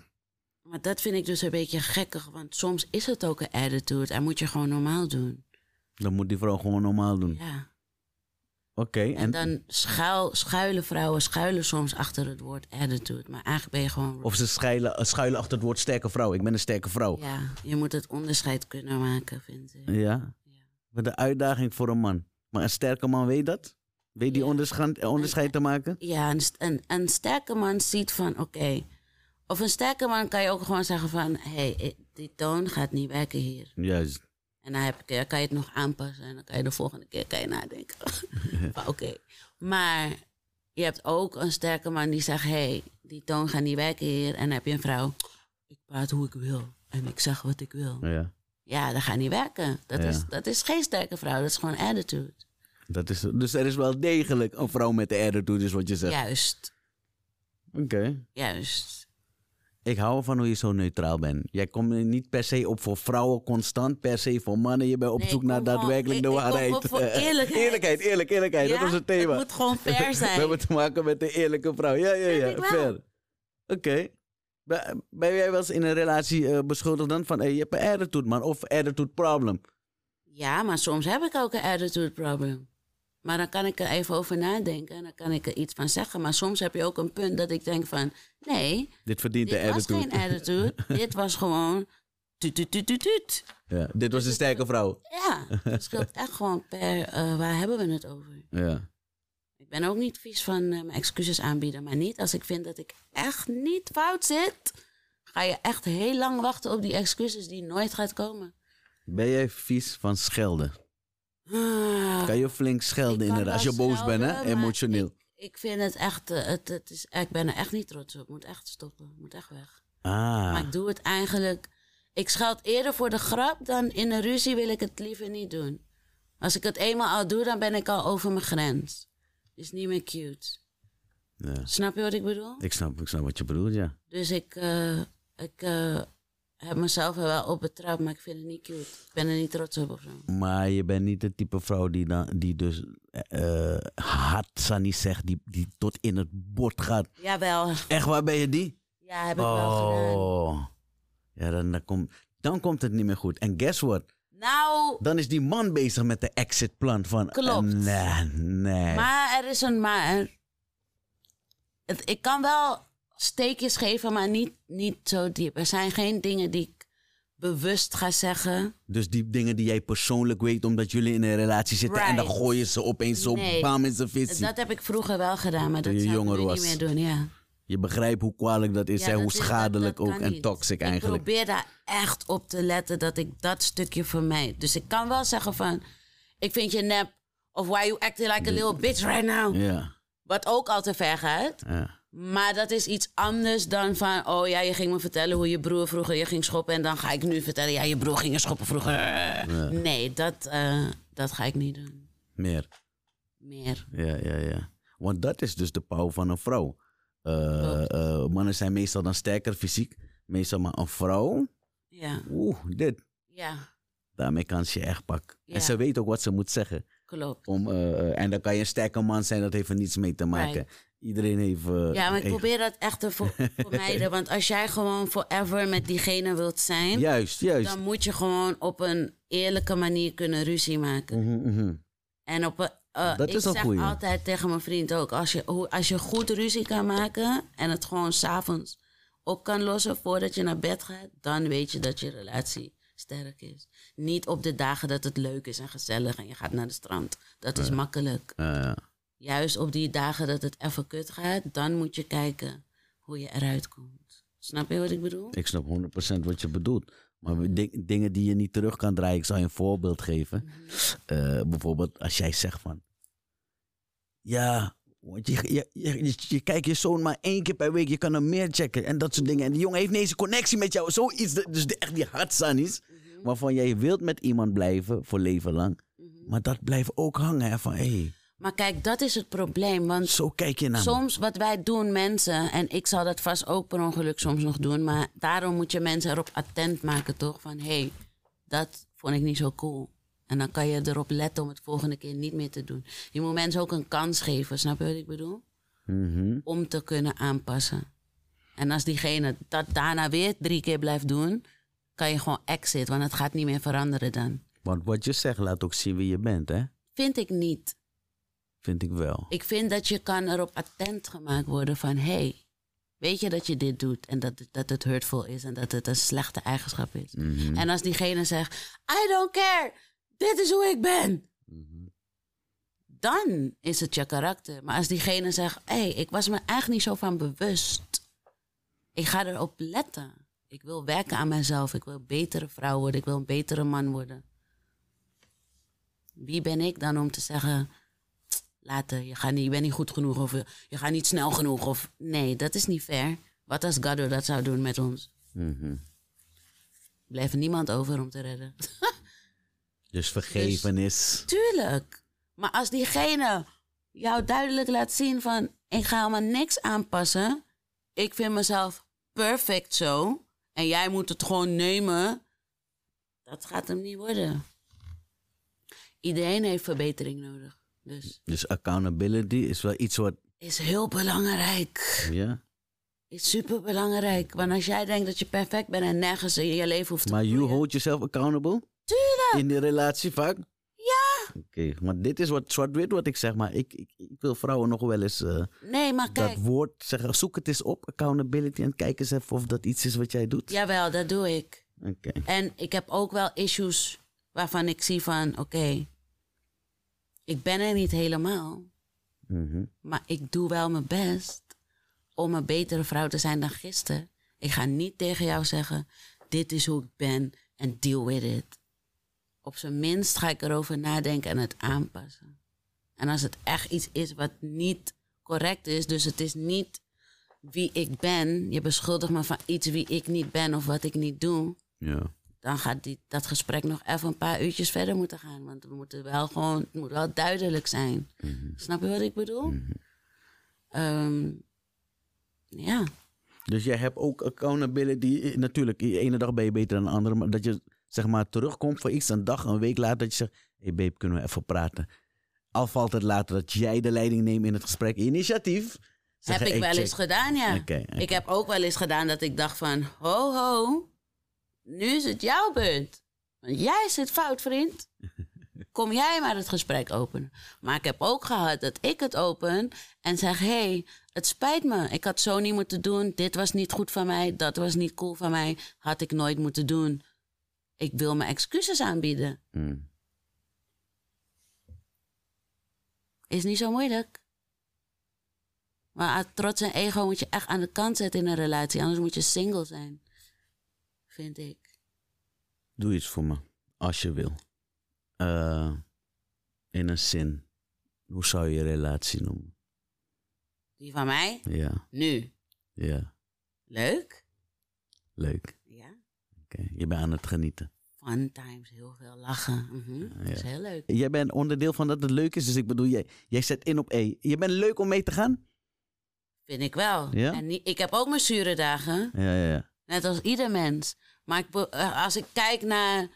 Maar dat vind ik dus een beetje gekkig, want soms is het ook een attitude en moet je gewoon normaal doen.
Dan moet die vrouw gewoon normaal doen.
Ja.
Oké,
En, dan schuil, schuilen vrouwen schuilen soms achter het woord attitude, maar eigenlijk ben je gewoon...
Of ze schuilen, schuilen achter het woord sterke vrouw. Ik ben een sterke vrouw. Ja.
Ja, je moet het onderscheid kunnen maken, vind ik.
Wat een uitdaging voor een man. Maar een sterke man weet dat? Weet die
Ja.
onderscheid, onderscheid te maken?
Ja, een, st- een, een sterke man ziet van oké. Of een sterke man kan je ook gewoon zeggen van hé, hey, die toon gaat niet werken hier.
Juist.
En dan, heb ik, dan kan je het nog aanpassen en dan kan je de volgende keer kan je nadenken. Van, oké. Maar je hebt ook een sterke man die zegt hé, hey, die toon gaat niet werken hier. En dan heb je een vrouw, ik praat hoe ik wil en ik zeg wat ik wil.
Ja.
Ja, dat gaat niet werken. Dat,
Ja.
is, dat is geen sterke vrouw, dat is gewoon attitude.
Dat is, dus er is wel degelijk een vrouw met de attitude, is wat je zegt.
Juist,
Oké.
juist.
Ik hou ervan hoe je zo neutraal bent. Jij komt er niet per se op voor vrouwen constant, per se voor mannen. Je bent op
Nee,
zoek
ik
naar
kom gewoon-
daadwerkelijk
ik-
de
ik kom op
waarheid.
voor eerlijkheid.
eerlijkheid, eerlijk, eerlijkheid.
Ja,
dat is het thema.
Het moet gewoon fair
We
zijn.
hebben te maken met een eerlijke vrouw. Ja, ja,
Vind
ja.
ik wel.
Fair. Oké. Be- Ben jij wel eens in een relatie eh, beschuldigd dan van... Hey, je hebt een attitude, man. Of attitude problem.
Ja, maar soms heb ik ook een attitude problem. Maar dan kan ik er even over nadenken en dan kan ik er iets van zeggen. Maar soms heb je ook een punt dat ik denk van... Nee,
Dit verdient
dit
een
was
attitude.
geen attitude. dit was gewoon... Tuut, tuut, tuut, tuut, tuut.
ja, dit was een sterke vrouw.
Ja, het scheelt echt gewoon per... eh, waar hebben we het over?
Ja.
Ik ben ook niet vies van eh, mijn excuses aanbieden. Maar niet als ik vind dat ik echt niet fout zit... ga je echt heel lang wachten op die excuses die nooit gaat komen.
Ben jij vies van schelden?
Ah.
Kan je flink
Ik
schelden
kan
inderdaad? Als je
wel
boos bent, hè?
schelden, maar
Emotioneel.
Ik vind het echt, eh, het, het is, ik ben er echt niet trots op. Ik moet echt stoppen. Ik moet echt weg. Maar
Ah.
ik doe het eigenlijk. Ik scheld eerder voor de grap dan in een ruzie wil ik het liever niet doen. Als ik het eenmaal al doe, dan ben ik al over mijn grens. Is niet meer cute.
Ja.
Snap je wat ik bedoel?
Ik snap, ik snap wat je bedoelt, ja.
Dus ik, eh, ik eh, heb mezelf er wel op betrapt, maar ik vind het niet cute. Ik ben er niet trots op of zo.
Maar je bent niet het type vrouw die, dan, die dus eh eh, hard Sunny zegt, die, die tot in het bord gaat.
Jawel.
Echt, waar ben je die?
Ja, heb ik wel
Oh.
gedaan.
Ja, dan, dan, komt dan komt het niet meer goed. En guess what?
Nou,
Dan is die man bezig met de exitplan van... eh,
Klopt.
Nee, nee.
Maar er is een maar. Het, ik kan wel steekjes geven, maar niet, niet zo diep. Er zijn geen dingen die ik bewust ga zeggen.
Dus die dingen die jij persoonlijk weet omdat jullie in een relatie zitten... en dan
Right.
gooi je ze opeens zo
Nee.
bam in zijn visie.
Dat heb ik vroeger wel gedaan, maar dat
je
zou ik
jonger
nu
was.
niet meer doen. Ja.
Je begrijpt hoe kwalijk dat is
Ja,
en
dat
hoe
is- dat-
schadelijk
dat
ook.
kan
En
niet.
toxic
Ik
eigenlijk.
probeer daar echt op te letten dat ik dat stukje vermijd. Dus ik kan wel zeggen van, ik vind je nep. Of why you acting like a little bitch right now.
Ja,
Wat ook al te ver gaat.
ja.
Maar dat is iets anders dan van, oh ja, je ging me vertellen hoe je broer vroeger je ging schoppen. En dan ga ik nu vertellen, ja, je broer ging je schoppen vroeger. Nee, dat, eh, dat ga ik niet doen.
meer.
Meer.
Ja, ja, ja. Want dat is dus de pauw van een vrouw. Eh, eh, mannen zijn meestal dan sterker fysiek. Meestal maar een vrouw.
Ja,
Oeh, dit.
ja
Daarmee kan ze je echt pakken.
Ja.
En ze weet ook wat ze moet zeggen.
klopt.
Om, eh, eh, en dan kan je een sterke man zijn, dat heeft er niets mee te maken. Iedereen heeft... eh,
Ja, maar ik
heeft-
probeer dat echt te vo- vermijden. Want als jij gewoon forever met diegene wilt zijn,
Juist, juist.
dan moet je gewoon op een eerlijke manier kunnen ruzie maken.
Mhm, mhm.
En op een, eh,
Dat
ik
is een
zeg
goeie.
altijd tegen mijn vriend ook, als je, hoe- als je goed ruzie kan maken en het gewoon s'avonds op kan lossen voordat je naar bed gaat, dan weet je dat je relatie sterk is. Niet op de dagen dat het leuk is en gezellig en je gaat naar de strand. Dat is makkelijk.
Eh,
Juist op die dagen dat het even kut gaat, dan moet je kijken hoe je eruit komt. Snap je wat ik bedoel?
ik snap 100% wat je bedoelt. Maar we- ding- dingen die je niet terug kan draaien, ik zal je een voorbeeld geven. Eh, bijvoorbeeld als jij zegt van... Ja, want je, je, je, je- je kijkt je zoon maar één keer per week. Je kan hem meer checken en dat soort dingen. En die jongen heeft niet eens een connectie met jou. Zoiets, de- dus de- echt die hartsannies. Waarvan jij wilt met iemand blijven voor leven lang. Maar dat blijft ook hangen. Hè, van, hey,
Maar kijk, dat is het probleem. Want
Zo kijk je naar me.
soms wat wij doen, mensen, en ik zal dat vast ook per ongeluk soms nog doen, maar daarom moet je mensen erop attent maken, toch? Van hé, hey, dat vond ik niet zo cool. En dan kan je erop letten om het volgende keer niet meer te doen. Je moet mensen ook een kans geven, snap je wat ik bedoel?
Mhm.
Om te kunnen aanpassen. En als diegene dat daarna weer drie keer blijft doen, kan je gewoon exit, want het gaat niet meer veranderen dan.
Want wat je zegt laat ook zien wie je bent, hè?
Vind ik niet.
Vind ik wel.
Ik vind dat je kan erop attent gemaakt worden van... hé, hey, weet je dat je dit doet en dat, dat het hurtful is... en dat het een slechte eigenschap is.
Mhm.
En als diegene zegt, I don't care, dit is hoe ik ben...
Mhm.
dan is het je karakter. Maar als diegene zegt, hé, hey, ik was me eigenlijk niet zo van bewust... ik ga erop letten. Ik wil werken aan mezelf, ik wil een betere vrouw worden... ik wil een betere man worden. Wie ben ik dan om te zeggen later. Je, gaat niet, je bent niet goed genoeg of je, je gaat niet snel genoeg. Of, nee, dat is niet fair. Wat als Gaddo dat zou doen met ons?
Mhm.
Blijft er niemand over om te redden.
Dus vergevenis.
Tuurlijk. Maar als diegene jou duidelijk laat zien van... ik ga helemaal niks aanpassen. Ik vind mezelf perfect zo. En jij moet het gewoon nemen. Dat gaat hem niet worden. Iedereen heeft verbetering nodig. Dus
Dus accountability is wel iets wat.
is heel belangrijk.
Ja.
is super belangrijk. Want als jij denkt dat je perfect bent en nergens in je leven hoeft te
Maar you
groeien-
hold yourself accountable?
Tuurlijk!
In die relatie vaak? Ja. Oké, maar dit is wat zwart-wit wat ik zeg. Maar ik, ik, ik wil vrouwen nog wel eens eh,
Nee, maar
dat
kijk.
woord zeggen. Zoek het eens op, accountability. En kijk eens even of dat iets is wat jij doet.
Jawel, dat doe ik.
Oké.
En ik heb ook wel issues waarvan ik zie van... Oké, ik ben er niet helemaal.
Mhm.
Maar ik doe wel mijn best om een betere vrouw te zijn dan gisteren. Ik ga niet tegen jou zeggen, dit is hoe ik ben en deal with it. Op zijn minst ga ik erover nadenken en het aanpassen. En als het echt iets is wat niet correct is, dus het is niet wie ik ben, je beschuldigt me van iets wie ik niet ben of wat ik niet doe,
Ja.
dan gaat die, dat gesprek nog even een paar uurtjes verder moeten gaan. Want we moeten wel gewoon, het moet wel duidelijk zijn. Snap je wat ik bedoel? Ehm, ja,
Dus jij hebt ook accountability. eh, Natuurlijk, de ene dag ben je beter dan de andere. Maar dat je zeg maar terugkomt voor iets, een dag, een week later. Dat je zegt: Hé hey babe, kunnen we even praten? Al valt het later dat jij de leiding neemt in het gesprek. Initiatief. Zeggen,
heb
"Hey,
ik wel
check."
eens gedaan, ja.
Oké, oké.
Ik heb ook wel eens gedaan dat ik dacht van, ho ho, nu is het jouw beurt. Want jij zit fout, vriend. Kom jij maar het gesprek openen. Maar ik heb ook gehad dat ik het open en zeg, hé, hey, het spijt me. Ik had zo niet moeten doen. Dit was niet goed van mij. Dat was niet cool van mij. Had ik nooit moeten doen. Ik wil mijn excuses aanbieden.
Mm.
Is niet zo moeilijk. Maar aan trots en ego moet je echt aan de kant zetten in een relatie. Anders moet je single zijn. Vind ik.
Doe iets voor me, als je wil. Eh, in een zin. Hoe zou je je relatie noemen?
Die van mij?
Ja,
Nu.
ja,
Leuk?
leuk.
Ja.
Oké, Je bent aan het genieten.
Fun times. Heel veel lachen. Mhm. Dat is heel leuk.
Jij bent onderdeel van dat het leuk is, dus ik bedoel, jij, jij zet in op E. Je bent leuk om mee te gaan?
Vind ik wel.
Ja?
En niet, ik heb ook mijn zure dagen.
Ja, ja, ja.
Net als ieder mens. Maar ik be- eh, als ik kijk naar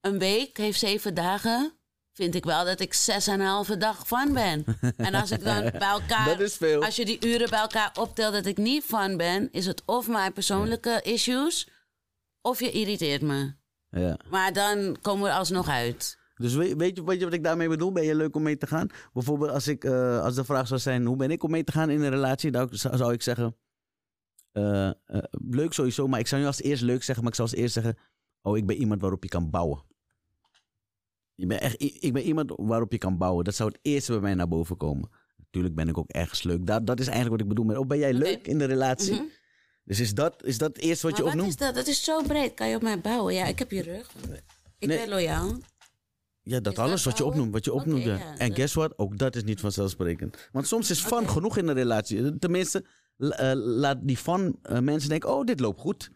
een week, heeft zeven dagen. Vind ik wel dat ik zes en een halve dag van ben. En als ik dan bij elkaar.
Dat is veel.
Als je die uren bij elkaar optelt dat ik niet van ben, is het of mijn persoonlijke issues. of je irriteert me.
ja.
Maar dan komen we er alsnog uit.
Dus weet, weet, je, weet je wat ik daarmee bedoel? Ben je leuk om mee te gaan? Bijvoorbeeld als, ik, eh, als de vraag zou zijn, hoe ben ik om mee te gaan in een relatie? Dan zou, zou ik zeggen, eh, eh, leuk sowieso, maar ik zou niet als eerst leuk zeggen, maar ik zou als eerst zeggen, oh, ik ben iemand waarop je kan bouwen. Je bent echt, i- ik ben iemand waarop je kan bouwen. Dat zou het eerste bij mij naar boven komen. Natuurlijk ben ik ook ergens leuk. Dat, dat is eigenlijk wat ik bedoel met, oh, ben jij leuk in de relatie? Dus is dat, is dat het eerste wat
Mhm. maar
je
wat
opnoemt?
is dat? Dat is zo breed. Kan je op mij bouwen? Ja, ik heb je rug. Ik
Nee.
ben loyaal.
Ja, dat
Is
alles
dat
wat je
oude?
opnoemt, wat je
Oké,
opnoemt. ja.
ja,
En
dat-
guess what? Ook dat is niet vanzelfsprekend. Want soms is fun
Oké.
genoeg in een relatie. Tenminste, la- eh, laat die fun eh, mensen denken, oh, dit loopt goed.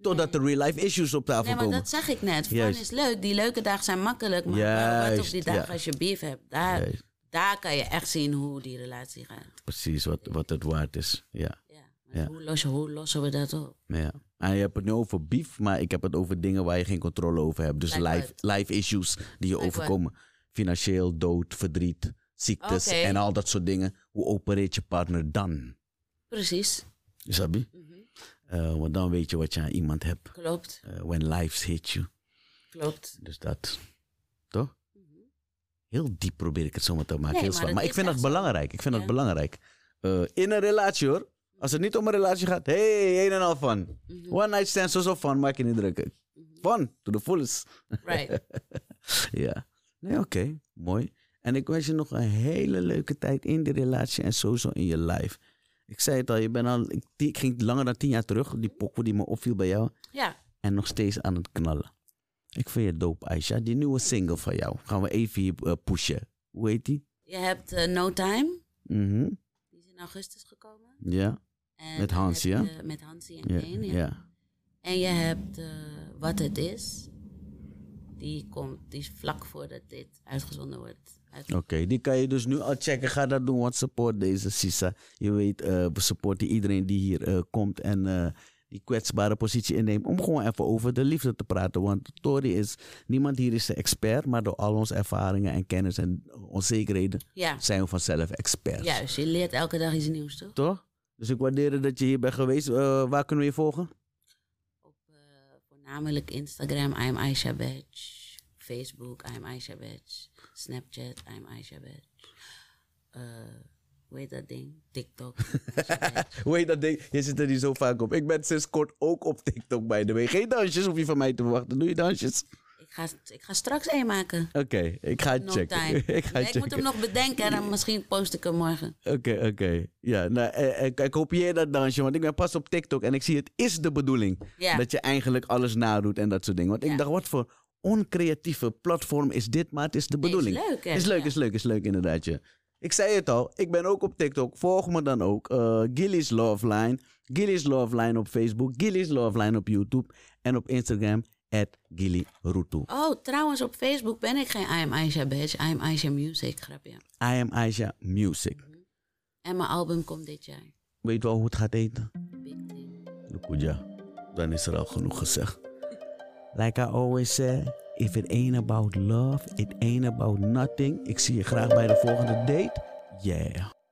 Totdat er real life issues op tafel
Nee, maar
komen.
dat zeg ik net. Fun
Juist.
is leuk. Die leuke dagen zijn makkelijk. Maar wel wat op
Juist,
die
ja.
dagen als je beef hebt? Daar,
Juist.
daar kan je echt zien hoe die relatie gaat.
Precies wat, wat het waard is. Ja.
Ja.
Ja.
Hoe, lossen, hoe lossen we dat op?
ja. En je hebt het nu over beef, maar ik heb het over dingen waar je geen controle over hebt. Dus
Like
life, life issues die je
Like
overkomen. Financieel, dood, verdriet, ziektes
Oké.
en al dat soort dingen. Hoe opereert je partner dan?
Precies.
Sabi?
Mm-hmm.
Eh, want dan weet je wat je aan iemand hebt.
Klopt,
Eh, when lives hit you.
klopt.
Dus dat, toch? Heel diep probeer ik het zomaar te maken.
Mm-hmm. Nee,
heel
maar
zwaar.
dat
Maar ik
is
vind dat
echt zo.
belangrijk. Ik vind dat
Ja.
belangrijk. Eh, in een relatie hoor. Als het niet om een relatie gaat, hey, een en al van.
Mhm.
One night stand, zo zo van, maak je niet druk.
Mm-hmm.
Fun, to the fullest.
Right.
Ja. Nee, oké. Mooi. En ik wens je nog een hele leuke tijd in die relatie en sowieso in je life. Ik zei het al, je bent al, ik, ik ging langer dan tien jaar terug. Die pokoe die me opviel bij jou
Ja,
en nog steeds aan het knallen. Ik vind je dope, Aisha. Die nieuwe single van jou. Gaan we even hier eh, pushen. Hoe heet die?
je hebt eh, No Time.
Mhm.
Die is in augustus gekomen.
Ja.
En
Met
dan
Hansie,
heb
hè?
je- Met Hansie en
Ja.
Kane, ja.
ja.
En je hebt eh, Wat Het Is. Die, komt, die is vlak voordat dit uitgezonden wordt. Uit-
Oké, die kan je dus nu al checken. Ga dat doen, want support deze Sisa. Je weet, eh, we supporten iedereen die hier eh, komt en eh, die kwetsbare positie inneemt. Om gewoon even over de liefde te praten. Want Tori is, niemand hier is de expert, maar door al onze ervaringen en kennis en onzekerheden
Ja,
zijn we vanzelf experts.
juist. Je leert elke dag iets nieuws, toch?
Toch? Dus ik waardeer het dat je hier bent geweest. Eh, waar kunnen we je volgen?
Op eh, voornamelijk Instagram, I'm Aisha Badge. Facebook, I'm Aisha Badge. Snapchat, I'm Aisha Badge. Eh, hoe heet dat ding? TikTok. Aisha Badge.
Hoe heet dat ding? Je zit er niet zo vaak op. Ik ben sinds kort ook op TikTok, by the way. Geen dansjes hoef je van mij te verwachten. Doe je dansjes?
ik, ga, ik ga straks één maken.
Oké, ik ga het
No
checken.
time.
ik ga
Nee,
het
ik
checken.
moet hem nog bedenken en dan misschien post ik hem morgen.
Oké, oké. Ja, nou, eh, eh, ik kopieer dat dansje, want ik ben pas op TikTok en ik zie het is de bedoeling
Ja.
dat je eigenlijk alles nadoet en dat soort dingen. Want ik
Ja.
dacht, wat voor oncreatieve platform is dit, maar het is de
Nee, is
bedoeling.
leuk, hè?
Is leuk,
Ja.
is leuk, is leuk, inderdaad. Ja. Ik zei het al, ik ben ook op TikTok. Volg me dan ook. eh Gilly's Love Line. Gilly's Love Line op Facebook. Gilly's Love Line op YouTube. En op Instagram, at Gilly Rutu.
Oh, trouwens, op Facebook ben ik geen I'm Aisha Badge. I'm Aisha Music, grapje.
I am Aisha Music.
En mijn album komt dit jaar.
Weet wel hoe het gaat eten?
Big thing.
Lukuja, dan is er al genoeg gezegd. Like I always say, if it ain't about love, it ain't about nothing. Ik zie je graag bij de volgende date. Yeah.